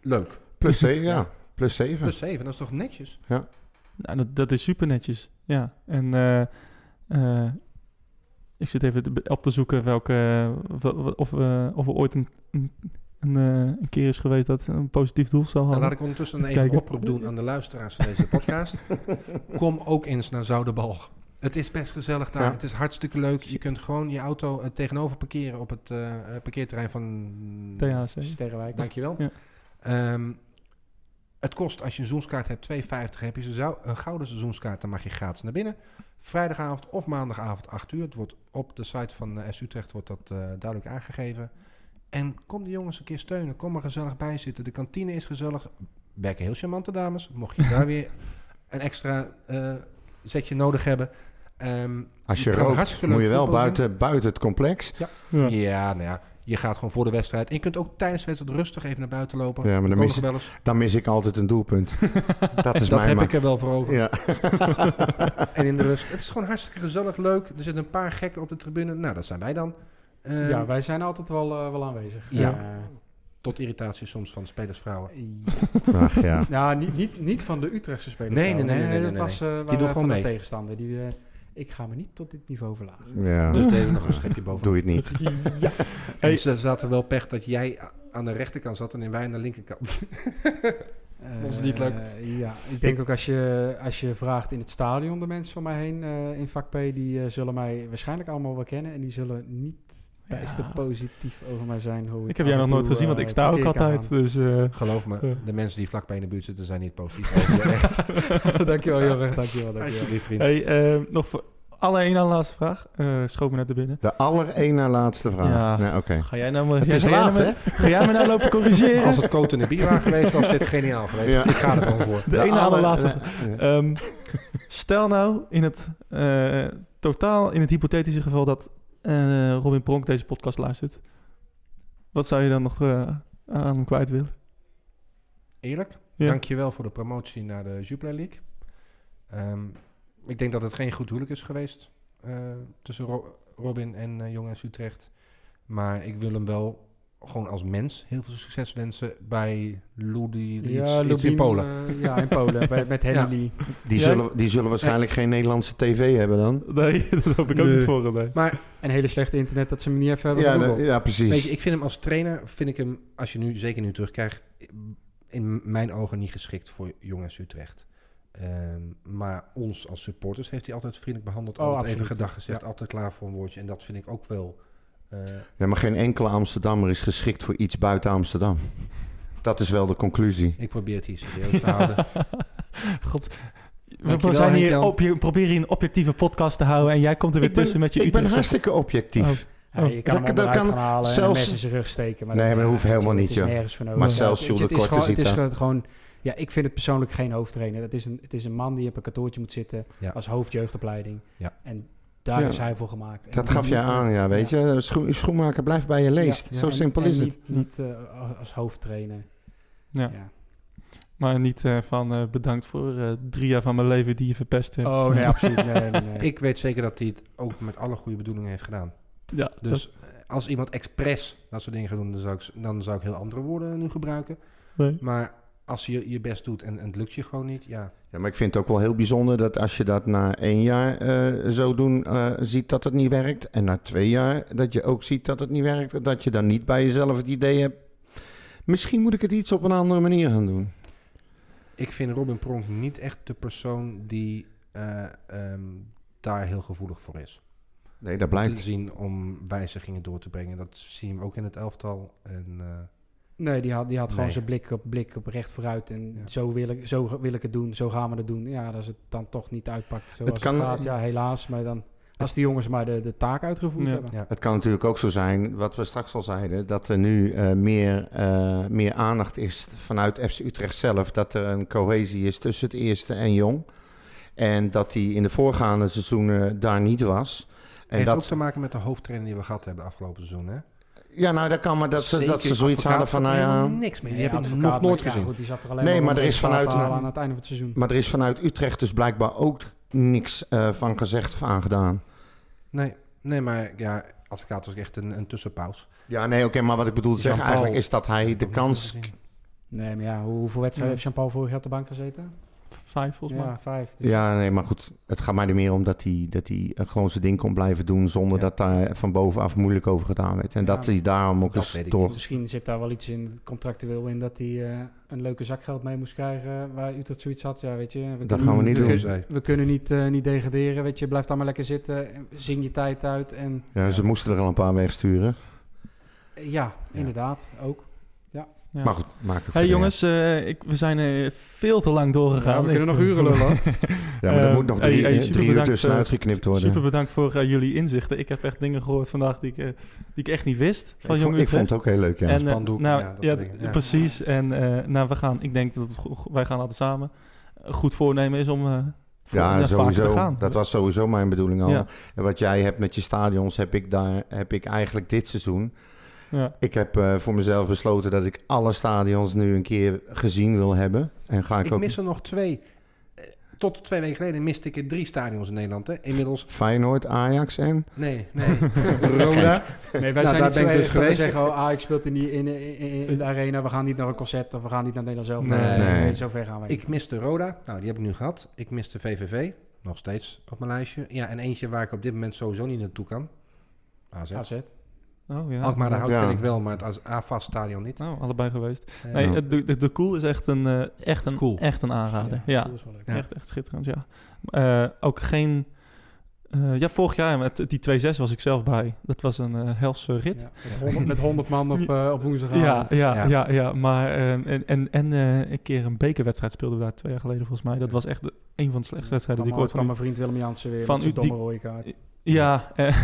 [SPEAKER 5] Leuk.
[SPEAKER 7] Plus 7, ja. Plus 7.
[SPEAKER 5] Plus zeven, dat is toch netjes?
[SPEAKER 4] Nou, dat, dat is super netjes. Ja. En eh, eh, ik zit even te be- op te zoeken welke, wel- wel- of, eh, of er ooit een, een, een, eh, een keer is geweest dat ze een positief doel zou
[SPEAKER 5] Nou,
[SPEAKER 4] hadden.
[SPEAKER 5] laat ik ondertussen even
[SPEAKER 4] Oh. Kijken.
[SPEAKER 5] een oproep doen aan de luisteraars van deze podcast. Kom ook eens naar Zoudenbalg. Het is best gezellig daar.
[SPEAKER 7] Ja.
[SPEAKER 5] Het is hartstikke leuk. Je kunt gewoon je auto eh, tegenover parkeren op het eh, eh, parkeerterrein van...
[SPEAKER 4] THC.
[SPEAKER 6] Sterrenwijk.
[SPEAKER 5] Dankjewel.
[SPEAKER 4] Ja.
[SPEAKER 5] Ehm, het kost, als je een seizoenskaart hebt, 2,50. Heb je zo- een gouden seizoenskaart, dan mag je gratis naar binnen. Vrijdagavond of maandagavond 8 uur. Het wordt op de site van eh, S Utrecht wordt dat eh, duidelijk aangegeven. En kom de jongens een keer steunen. Kom er gezellig bij zitten. De kantine is gezellig. Werken heel charmante dames. Mocht je daar weer een extra eh, zetje nodig hebben. Ehm,
[SPEAKER 7] Als je
[SPEAKER 5] kan
[SPEAKER 7] rookt,
[SPEAKER 5] hartstikke leuk
[SPEAKER 7] moet je wel
[SPEAKER 5] voetbal zien.
[SPEAKER 7] buiten, buiten het complex.
[SPEAKER 4] Ja.
[SPEAKER 5] Ja, nou ja. Je gaat gewoon voor de wedstrijd. En je kunt ook tijdens de wedstrijd rustig even naar buiten lopen.
[SPEAKER 7] Ja, maar dan
[SPEAKER 5] Ook
[SPEAKER 7] mis-
[SPEAKER 5] nog wel eens.
[SPEAKER 7] Dan mis ik altijd een doelpunt. Dat is
[SPEAKER 5] Dat
[SPEAKER 7] mijn
[SPEAKER 5] heb
[SPEAKER 7] ma-
[SPEAKER 5] ik er wel voor over.
[SPEAKER 7] Ja.
[SPEAKER 5] En in de rust. Het is gewoon hartstikke gezellig, leuk. Er zitten een paar gekken op de tribune. Nou, dat zijn wij dan. Ehm,
[SPEAKER 6] ja, wij zijn altijd wel, eh, wel aanwezig.
[SPEAKER 5] Ja.
[SPEAKER 6] Eh,
[SPEAKER 5] Tot irritatie soms van spelersvrouwen.
[SPEAKER 7] Ach ja.
[SPEAKER 6] Nou, niet, niet, niet van de Utrechtse spelers.
[SPEAKER 5] Nee, nee, nee, nee, nee,
[SPEAKER 6] dat
[SPEAKER 5] nee,
[SPEAKER 6] was eh, waren
[SPEAKER 5] doen
[SPEAKER 6] van
[SPEAKER 5] gewoon
[SPEAKER 6] de
[SPEAKER 5] mee.
[SPEAKER 6] tegenstander. Die, eh, ik ga me niet tot dit niveau verlagen.
[SPEAKER 7] ja.
[SPEAKER 5] Dus deden we nog een schepje boven.
[SPEAKER 7] Doe het niet.
[SPEAKER 5] En ze zaten wel pech dat jij a- aan de rechterkant zat en wij aan de linkerkant. Dat is
[SPEAKER 6] Eh,
[SPEAKER 5] niet leuk.
[SPEAKER 6] ja, ik denk ook als je, als je vraagt in het stadion de mensen om mij heen eh, in vak P, die eh, zullen mij waarschijnlijk allemaal wel kennen en die zullen niet bijster
[SPEAKER 4] Ja.
[SPEAKER 6] positief over mij zijn. Hoe
[SPEAKER 4] Ik heb jij nog nooit gezien,
[SPEAKER 6] eh,
[SPEAKER 4] want ik sta ook altijd. Dus eh,
[SPEAKER 5] Geloof me,
[SPEAKER 4] Ja.
[SPEAKER 5] de mensen die vlakbij in de buurt zitten zijn niet positief. Echt.
[SPEAKER 6] Oh, dankjewel, Jorg. Dankjewel, dankjewel.
[SPEAKER 5] Alsjeblieft, vriend.
[SPEAKER 4] hey, eh, nog voor alle één laatste vraag. Eh schoot me net er binnen.
[SPEAKER 7] De aller na laatste vraag.
[SPEAKER 4] Ja.
[SPEAKER 7] Nou, oké.
[SPEAKER 4] Ga jij nou maar...
[SPEAKER 7] Het
[SPEAKER 4] jij-
[SPEAKER 7] is
[SPEAKER 4] ga jij
[SPEAKER 7] laat,
[SPEAKER 4] nou
[SPEAKER 7] hè?
[SPEAKER 4] maar- Ga jij me nou lopen corrigeren?
[SPEAKER 5] Als het koot in de bier waren geweest, was dit geniaal geweest.
[SPEAKER 7] Ja.
[SPEAKER 5] Ik ga er gewoon voor.
[SPEAKER 4] De ene
[SPEAKER 7] aller-
[SPEAKER 4] allerlaatste
[SPEAKER 7] Ja.
[SPEAKER 4] Ehm, stel nou in het eh, totaal, in het hypothetische geval dat eh, Robin Pronk deze podcast luistert. Wat zou je dan nog eh, aan hem kwijt willen?
[SPEAKER 5] Eerlijk,
[SPEAKER 4] Ja.
[SPEAKER 5] dankjewel voor de promotie naar de Jupiler League. Ehm, ik denk dat het geen goed huwelijk is geweest eh, tussen Ro- Robin en eh, Jong en Utrecht. Maar ik wil hem wel gewoon als mens heel veel succes wensen bij Ludi iets, iets in
[SPEAKER 6] Lubin,
[SPEAKER 5] Polen.
[SPEAKER 6] eh, ja, in Polen, bij, met Henley.
[SPEAKER 7] Die,
[SPEAKER 4] Ja.
[SPEAKER 7] zullen, die zullen waarschijnlijk geen Nederlandse tv hebben dan.
[SPEAKER 4] Nee, dat hoop ik ook
[SPEAKER 5] Nee.
[SPEAKER 4] niet voor hem. nee.
[SPEAKER 6] En hele slechte internet dat ze hem niet even hebben
[SPEAKER 7] Ja,
[SPEAKER 6] gegoogeld.
[SPEAKER 7] de- ja,
[SPEAKER 5] Weet je,
[SPEAKER 7] precies.
[SPEAKER 5] ik vind hem als trainer, vind ik hem, als je nu zeker nu terugkijkt, in mijn ogen niet geschikt voor Jong en Utrecht. Ehm, maar ons als supporters heeft hij altijd vriendelijk behandeld,
[SPEAKER 6] Oh,
[SPEAKER 5] altijd even
[SPEAKER 6] absoluut.
[SPEAKER 5] gedag gezegd, altijd klaar voor een woordje. En dat vind ik ook wel. eh,
[SPEAKER 7] Ja, maar geen enkele Amsterdammer is geschikt voor iets buiten Amsterdam. Dat is wel de conclusie.
[SPEAKER 5] ik probeer het hier serieus te houden.
[SPEAKER 4] God. We- We
[SPEAKER 5] Dankjewel,
[SPEAKER 4] zijn hier
[SPEAKER 5] Henk-Jan.
[SPEAKER 4] op, je probeert hier een objectieve podcast te houden en jij komt er weer
[SPEAKER 7] Ik ben-
[SPEAKER 4] tussen met je
[SPEAKER 7] Ik ben
[SPEAKER 4] Utrechtse. Oh,
[SPEAKER 7] hartstikke objectief.
[SPEAKER 6] Ja, je kan
[SPEAKER 7] Dat-
[SPEAKER 6] hem
[SPEAKER 7] dat
[SPEAKER 6] onderuit
[SPEAKER 7] kan
[SPEAKER 6] gaan halen en
[SPEAKER 7] zelfs-
[SPEAKER 6] mensen zijn rug steken. Maar
[SPEAKER 7] Nee,
[SPEAKER 6] dat-
[SPEAKER 7] maar dat hoeft
[SPEAKER 6] ja,
[SPEAKER 7] helemaal
[SPEAKER 6] het
[SPEAKER 7] niet,
[SPEAKER 6] is
[SPEAKER 7] joh.
[SPEAKER 6] nergens van over.
[SPEAKER 7] Maar
[SPEAKER 6] Ja,
[SPEAKER 7] zelfs
[SPEAKER 6] het-
[SPEAKER 7] Jules
[SPEAKER 6] het
[SPEAKER 7] de
[SPEAKER 6] is
[SPEAKER 7] Korte
[SPEAKER 6] gewoon-
[SPEAKER 7] ziet
[SPEAKER 6] Het is
[SPEAKER 7] dat.
[SPEAKER 6] gewoon- gewoon... Ja, ik vind het persoonlijk geen hoofdtrainer. Het is een, het is een man die op een kantoortje moet zitten
[SPEAKER 5] Ja.
[SPEAKER 6] als hoofdjeugdopleiding.
[SPEAKER 5] Ja.
[SPEAKER 6] En daar
[SPEAKER 7] Ja.
[SPEAKER 6] is hij voor gemaakt. En
[SPEAKER 7] Dat gaf
[SPEAKER 6] niet-
[SPEAKER 7] je aan, ja, weet je. Schoen- schoenmaker blijft bij je leest.
[SPEAKER 6] Ja,
[SPEAKER 7] Zo
[SPEAKER 6] en-
[SPEAKER 7] simpel
[SPEAKER 6] en
[SPEAKER 7] is het.
[SPEAKER 6] Niet, niet eh, als hoofdtrainer.
[SPEAKER 4] Ja. Maar niet eh, van eh, bedankt voor eh, drie jaar van mijn leven die je verpest hebt.
[SPEAKER 6] Oh nee, absoluut. Nee, nee, nee.
[SPEAKER 5] ik weet zeker dat hij het ook met alle goede bedoelingen heeft gedaan.
[SPEAKER 4] Ja, dus.
[SPEAKER 5] Dus eh, als iemand expres dat soort dingen gaat doen, dan zou ik, dan zou ik heel andere woorden nu gebruiken.
[SPEAKER 4] nee.
[SPEAKER 5] Maar als je je best doet en, en het lukt je gewoon niet, ja.
[SPEAKER 7] Ja, maar ik vind het ook wel heel bijzonder dat als je dat na één jaar eh, zo doen eh, ziet dat het niet werkt. En na twee jaar dat je ook ziet dat het niet werkt. Dat je dan niet bij jezelf het idee hebt. Misschien moet ik het iets op een andere manier gaan doen.
[SPEAKER 5] Ik vind Robin Pronk niet echt de persoon die eh, ehm, daar heel gevoelig voor is.
[SPEAKER 7] Nee, dat blijkt.
[SPEAKER 5] Te zien om wijzigingen door te brengen. Dat zie je ook in het elftal. En, eh,
[SPEAKER 6] Nee, die had, die had gewoon
[SPEAKER 5] Nee.
[SPEAKER 6] zijn blik op, blik op recht vooruit. En
[SPEAKER 5] Ja.
[SPEAKER 6] zo, wil ik, zo wil ik het doen, zo gaan we het doen. Ja, als het dan toch niet uitpakt zoals het,
[SPEAKER 7] kan-
[SPEAKER 6] gaat. Ja, helaas. Maar dan, als die jongens maar de, de taak uitgevoerd
[SPEAKER 4] Ja.
[SPEAKER 6] hebben.
[SPEAKER 5] ja.
[SPEAKER 7] Het kan natuurlijk ook zo zijn, wat we straks al zeiden, dat er nu eh, meer, eh, meer aandacht is vanuit FC Utrecht zelf. Dat er een cohesie is tussen het eerste en jong. En dat die in de voorgaande seizoenen daar niet was. En
[SPEAKER 5] Heeft
[SPEAKER 7] dat,
[SPEAKER 5] ook te maken met de hoofdtrainer die we gehad hebben afgelopen seizoen. Hè?
[SPEAKER 7] Ja, nou, dat kan maar dat ze,
[SPEAKER 5] Zeker
[SPEAKER 7] dat ze zoiets hadden
[SPEAKER 5] advocaat
[SPEAKER 7] van, nou
[SPEAKER 5] had helemaal
[SPEAKER 7] ja...
[SPEAKER 5] niks meer.
[SPEAKER 6] Nee,
[SPEAKER 5] Die heb ik
[SPEAKER 6] advocaat,
[SPEAKER 5] nog nooit
[SPEAKER 6] maar ja,
[SPEAKER 5] gezien.
[SPEAKER 6] goed, die zat er alleen
[SPEAKER 7] Nee,
[SPEAKER 6] om
[SPEAKER 7] maar er is
[SPEAKER 6] resultaat te
[SPEAKER 7] vanuit-
[SPEAKER 6] halen aan het einde van het seizoen.
[SPEAKER 7] Maar er is vanuit Utrecht dus blijkbaar ook niks eh, van gezegd of aangedaan.
[SPEAKER 5] Nee, nee, maar ja, advocaat was echt een, een tussenpaus.
[SPEAKER 7] Ja, nee, oké, maar wat ik bedoel te zeggen
[SPEAKER 5] Jean-Paul.
[SPEAKER 7] eigenlijk is dat hij de
[SPEAKER 5] Heb ik nog
[SPEAKER 7] kans...
[SPEAKER 5] nooit gezien.
[SPEAKER 6] Nee, maar ja, hoe- hoeveel wedstrijden heeft Jean-Paul vorig jaar op de bank gezeten?
[SPEAKER 4] Vijf volgens mij.
[SPEAKER 6] Ja, vijf. Dus
[SPEAKER 7] Ja, nee, maar goed. Het gaat mij er meer om dat hij, dat hij eh, gewoon zijn ding kon blijven doen... zonder
[SPEAKER 5] Ja.
[SPEAKER 7] dat daar van bovenaf moeilijk over gedaan werd. En
[SPEAKER 6] Ja,
[SPEAKER 7] dat hij daarom ook
[SPEAKER 5] dat
[SPEAKER 7] eens
[SPEAKER 5] weet ik
[SPEAKER 7] door...
[SPEAKER 6] Misschien zit daar wel iets in contractueel in dat hij eh, een leuke zakgeld mee moest krijgen. eh, Waar Utrecht zoiets had. Ja, weet je. We
[SPEAKER 7] Dat gaan we niet
[SPEAKER 5] Toen
[SPEAKER 7] doen.
[SPEAKER 5] zei-
[SPEAKER 6] We kunnen niet, eh, niet degraderen, weet je. Blijf daar maar lekker zitten, zing je tijd uit. En
[SPEAKER 7] Ja, ze moesten er al een paar wegsturen.
[SPEAKER 6] eh, ja,
[SPEAKER 5] Ja.
[SPEAKER 6] inderdaad, ook.
[SPEAKER 4] Ja.
[SPEAKER 7] Maar goed, maakt het
[SPEAKER 4] Hey jongens, eh, ik, we zijn eh, veel te lang
[SPEAKER 6] Ja,
[SPEAKER 4] doorgegaan.
[SPEAKER 6] we kunnen
[SPEAKER 4] Ik-
[SPEAKER 6] nog uren lullen, hoor.
[SPEAKER 7] Ja, maar er
[SPEAKER 4] eh,
[SPEAKER 7] moet nog
[SPEAKER 4] hey,
[SPEAKER 7] drie,
[SPEAKER 4] hey,
[SPEAKER 7] eh,
[SPEAKER 4] super
[SPEAKER 7] drie uur
[SPEAKER 4] bedankt,
[SPEAKER 7] tussenuit
[SPEAKER 4] eh,
[SPEAKER 7] geknipt worden.
[SPEAKER 4] Super bedankt voor eh, jullie inzichten. Ik heb echt dingen gehoord vandaag die ik, eh, die ik echt niet wist. Van
[SPEAKER 7] ik, vond,
[SPEAKER 4] Jong
[SPEAKER 7] ik vond
[SPEAKER 4] Utrecht.
[SPEAKER 7] het ook heel leuk, ja.
[SPEAKER 4] en, eh,
[SPEAKER 5] spandoek,
[SPEAKER 4] nou,
[SPEAKER 5] ja,
[SPEAKER 4] ja,
[SPEAKER 5] dat soort dingen,
[SPEAKER 4] d-
[SPEAKER 5] ja.
[SPEAKER 4] precies. En eh, nou, we gaan, ik denk dat het go- go- wij gaan altijd samen. Een goed voornemen is om eh voor-
[SPEAKER 7] Ja,
[SPEAKER 4] ja, vaker te
[SPEAKER 7] sowieso.
[SPEAKER 4] gaan.
[SPEAKER 7] Dat was sowieso mijn bedoeling al.
[SPEAKER 4] Ja.
[SPEAKER 7] En wat jij hebt met je stadions, heb ik, daar, heb ik eigenlijk dit seizoen.
[SPEAKER 4] Ja.
[SPEAKER 7] Ik heb eh, voor mezelf besloten dat ik alle stadions nu een keer gezien wil hebben. En ga ik,
[SPEAKER 5] Ik
[SPEAKER 7] ook
[SPEAKER 5] mis er nog twee. Eh, Tot twee weken geleden miste ik er drie stadions in Nederland. Hè? Inmiddels,
[SPEAKER 7] Feyenoord, Ajax en...
[SPEAKER 5] nee, nee. Roda.
[SPEAKER 6] Nee, wij zijn niet
[SPEAKER 5] daar ben
[SPEAKER 6] zo
[SPEAKER 5] ik dus
[SPEAKER 6] erg dat we
[SPEAKER 5] geweest.
[SPEAKER 6] zeggen, oh, ah, ik speelt in, die, in, in, in de arena, we gaan niet naar een concert of we gaan niet naar Nederland zelf.
[SPEAKER 5] Nee.
[SPEAKER 6] Nee,
[SPEAKER 7] Nee.
[SPEAKER 6] nee, zover gaan wij niet.
[SPEAKER 5] Ik miste Roda. Nou, die heb ik nu gehad. Ik miste VVV. Nog steeds op mijn lijstje. Ja, en eentje waar ik op dit moment sowieso niet naartoe kan. AZ.
[SPEAKER 6] AZ.
[SPEAKER 4] Oh, ja.
[SPEAKER 5] Alkmaar de Hout
[SPEAKER 7] Ja.
[SPEAKER 5] ken ik wel, maar het AFAS stadion niet.
[SPEAKER 4] Nou, allebei geweest.
[SPEAKER 5] Eh,
[SPEAKER 4] Nee, het- de, de, de Cool is echt een, eh, echt een,
[SPEAKER 5] Cool.
[SPEAKER 4] echt een aanrader. Ja,
[SPEAKER 6] dat is wel leuk.
[SPEAKER 5] Ja.
[SPEAKER 4] Echt, echt schitterend, ja. Eh, ook geen Eh, ja, vorig jaar met die 2-6 was ik zelf bij. Dat was een eh helse rit.
[SPEAKER 6] Ja, met, 100, met 100 man op, eh op
[SPEAKER 4] Ja, ja,
[SPEAKER 6] woensdagavond.
[SPEAKER 4] ja,
[SPEAKER 5] Ja.
[SPEAKER 4] ja. Maar ehm, en, en, en eh, een keer een bekerwedstrijd speelden we daar twee jaar geleden volgens mij. Dat was echt de- een van de slechtste wedstrijden die ik
[SPEAKER 6] Kwam-
[SPEAKER 4] ooit van
[SPEAKER 6] kwam mijn vriend Willem Jansen weer
[SPEAKER 4] van
[SPEAKER 6] met zijn
[SPEAKER 4] u- die-
[SPEAKER 6] domme rode kaart.
[SPEAKER 4] Ja, eh,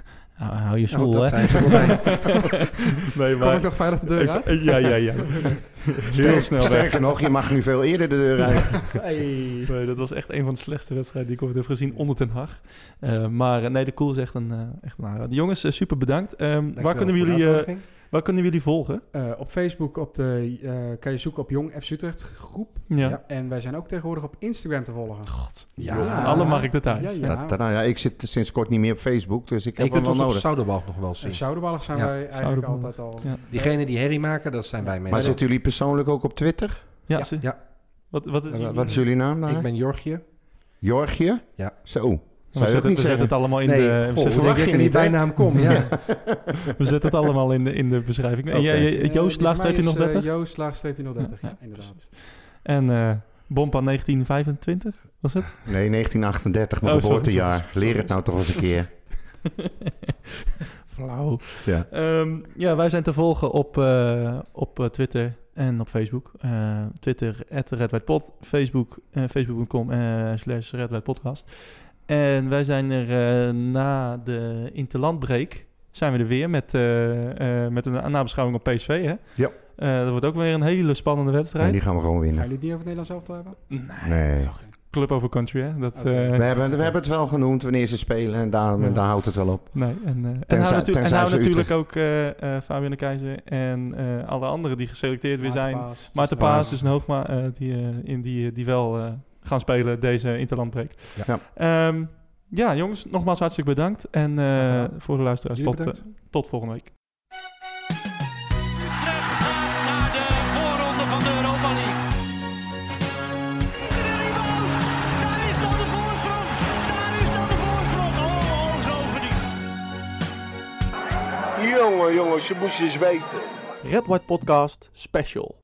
[SPEAKER 4] nou, hou
[SPEAKER 5] Nou,
[SPEAKER 4] je school,
[SPEAKER 5] dat
[SPEAKER 4] hè?
[SPEAKER 5] zijn ze voorbij.
[SPEAKER 4] nee,
[SPEAKER 6] Kom ik nog veilig de deur uit?
[SPEAKER 4] Even- ja, ja, ja. Heel
[SPEAKER 7] Sterk-
[SPEAKER 4] snel weg.
[SPEAKER 7] Sterker nog, je mag nu veel eerder de deur uit.
[SPEAKER 6] Hey.
[SPEAKER 4] Nee, dat was echt een van de slechtste wedstrijden die ik ooit heb gezien onder Ten Haag. Eh, maar eh, nee, de cool is echt een, eh echt een aanrader. Jongens, eh, super bedankt. Ehm, waar,
[SPEAKER 5] Dankjewel
[SPEAKER 4] kunnen we
[SPEAKER 5] voor de
[SPEAKER 4] jullie, eh,
[SPEAKER 5] uitnodiging.
[SPEAKER 4] waar kunnen we jullie volgen?
[SPEAKER 6] Eh, op Facebook op de, eh, kan je zoeken op Jong FC Utrecht groep.
[SPEAKER 4] Ja.
[SPEAKER 5] Ja.
[SPEAKER 6] En wij zijn ook tegenwoordig op Instagram te volgen.
[SPEAKER 5] Ja.
[SPEAKER 6] Ja.
[SPEAKER 4] Alle markten thuis.
[SPEAKER 6] Ja, ja.
[SPEAKER 7] Ja. nou ja, ik zit sinds kort niet meer op Facebook, dus ik
[SPEAKER 5] En
[SPEAKER 7] heb
[SPEAKER 5] je kunt
[SPEAKER 7] hem wel
[SPEAKER 5] ons op
[SPEAKER 7] nodig.
[SPEAKER 5] Zouderbalg nog wel
[SPEAKER 6] En
[SPEAKER 5] zien.
[SPEAKER 6] Zouderballig zijn
[SPEAKER 5] Ja.
[SPEAKER 6] wij eigenlijk
[SPEAKER 4] Zouderbalg.
[SPEAKER 6] altijd al.
[SPEAKER 4] Ja.
[SPEAKER 5] Diegenen die herrie maken, dat zijn wij
[SPEAKER 7] Maar
[SPEAKER 5] mensen.
[SPEAKER 7] zitten jullie persoonlijk ook op Twitter?
[SPEAKER 4] Ja,
[SPEAKER 6] Ja.
[SPEAKER 4] ze-
[SPEAKER 5] Ja.
[SPEAKER 4] Wat, wat is,
[SPEAKER 7] Wat is jullie naam daar?
[SPEAKER 5] Ik ben Jorgje.
[SPEAKER 7] Jorgje?
[SPEAKER 5] Ja.
[SPEAKER 7] Zo.
[SPEAKER 4] we
[SPEAKER 7] Zou je ook
[SPEAKER 4] Oh, zetten,
[SPEAKER 7] niet
[SPEAKER 4] we zetten
[SPEAKER 7] zeggen?
[SPEAKER 4] het allemaal in
[SPEAKER 5] nee,
[SPEAKER 4] de...
[SPEAKER 5] goh,
[SPEAKER 4] we zetten-
[SPEAKER 5] hoe denk
[SPEAKER 7] verwacht
[SPEAKER 5] je
[SPEAKER 7] je
[SPEAKER 5] dat die
[SPEAKER 7] niet, hè?
[SPEAKER 5] bijnaam kom? Ja.
[SPEAKER 4] We zetten het allemaal in de, in de beschrijving. En
[SPEAKER 7] Oké.
[SPEAKER 4] jij- jij-
[SPEAKER 6] Eh, die
[SPEAKER 4] Joost,
[SPEAKER 6] van
[SPEAKER 4] laagstreepje
[SPEAKER 6] mij
[SPEAKER 4] nog
[SPEAKER 6] is, eh,
[SPEAKER 4] 30.
[SPEAKER 6] Joost, laagstreepje 030.
[SPEAKER 4] Ja,
[SPEAKER 6] Ja, inderdaad.
[SPEAKER 4] en eh Bompa 1925, was het?
[SPEAKER 7] Nee, 1938, mijn
[SPEAKER 4] Oh, sorry,
[SPEAKER 7] geboortejaar.
[SPEAKER 4] sorry, sorry.
[SPEAKER 7] Leer het nou toch eens een keer.
[SPEAKER 4] Flauw.
[SPEAKER 7] Ja.
[SPEAKER 4] Ehm, ja, wij zijn te volgen op, eh, op eh, Twitter en op Facebook. Eh, Twitter, at RedWhitePod. Facebook, eh, facebook.com eh, slash RedWhitePodcast. En wij zijn er eh, na de interlandbreak zijn we er weer met, eh, eh, met een nabeschouwing op PSV. Hè?
[SPEAKER 7] Ja.
[SPEAKER 4] Eh, dat wordt ook weer een hele spannende
[SPEAKER 7] En
[SPEAKER 4] wedstrijd.
[SPEAKER 7] die gaan we gewoon
[SPEAKER 6] Gaan
[SPEAKER 7] winnen.
[SPEAKER 6] jullie het niet over het Nederlands elftal hebben?
[SPEAKER 7] Nee.
[SPEAKER 4] Club over country, hè? Dat,
[SPEAKER 6] Oké.
[SPEAKER 4] eh,
[SPEAKER 7] We hebben, we hebben het wel genoemd wanneer ze spelen en daar,
[SPEAKER 4] Ja.
[SPEAKER 7] daar houdt het wel op.
[SPEAKER 4] Nee, en, eh en
[SPEAKER 7] Tenzij-
[SPEAKER 4] houden natu- en
[SPEAKER 7] tenzij
[SPEAKER 4] houden
[SPEAKER 7] ze
[SPEAKER 4] natuurlijk ook eh, eh, Fabian de Keizer en eh, alle anderen die geselecteerd weer zijn.
[SPEAKER 6] Paas.
[SPEAKER 4] Maarten
[SPEAKER 7] Paas.
[SPEAKER 4] Paas, dus Hoogma, eh, die, eh, in die, eh, die wel eh, gaan spelen deze interlandbreek.
[SPEAKER 5] Ja.
[SPEAKER 7] Ja.
[SPEAKER 4] Ja. ja, jongens, nogmaals hartelijk bedankt. En eh,
[SPEAKER 6] Graag gedaan.
[SPEAKER 4] voor de luisteraars,
[SPEAKER 5] Jullie
[SPEAKER 4] tot, eh, tot volgende week.
[SPEAKER 1] Utrecht gaat naar de voorronde van de Europa League. Daar is dan de voorsprong. Daar is dan de voorsprong. Oh, oh, zo verdiend.
[SPEAKER 2] Jongen, jongen, ze moest eens weten.
[SPEAKER 3] Red White Podcast Special.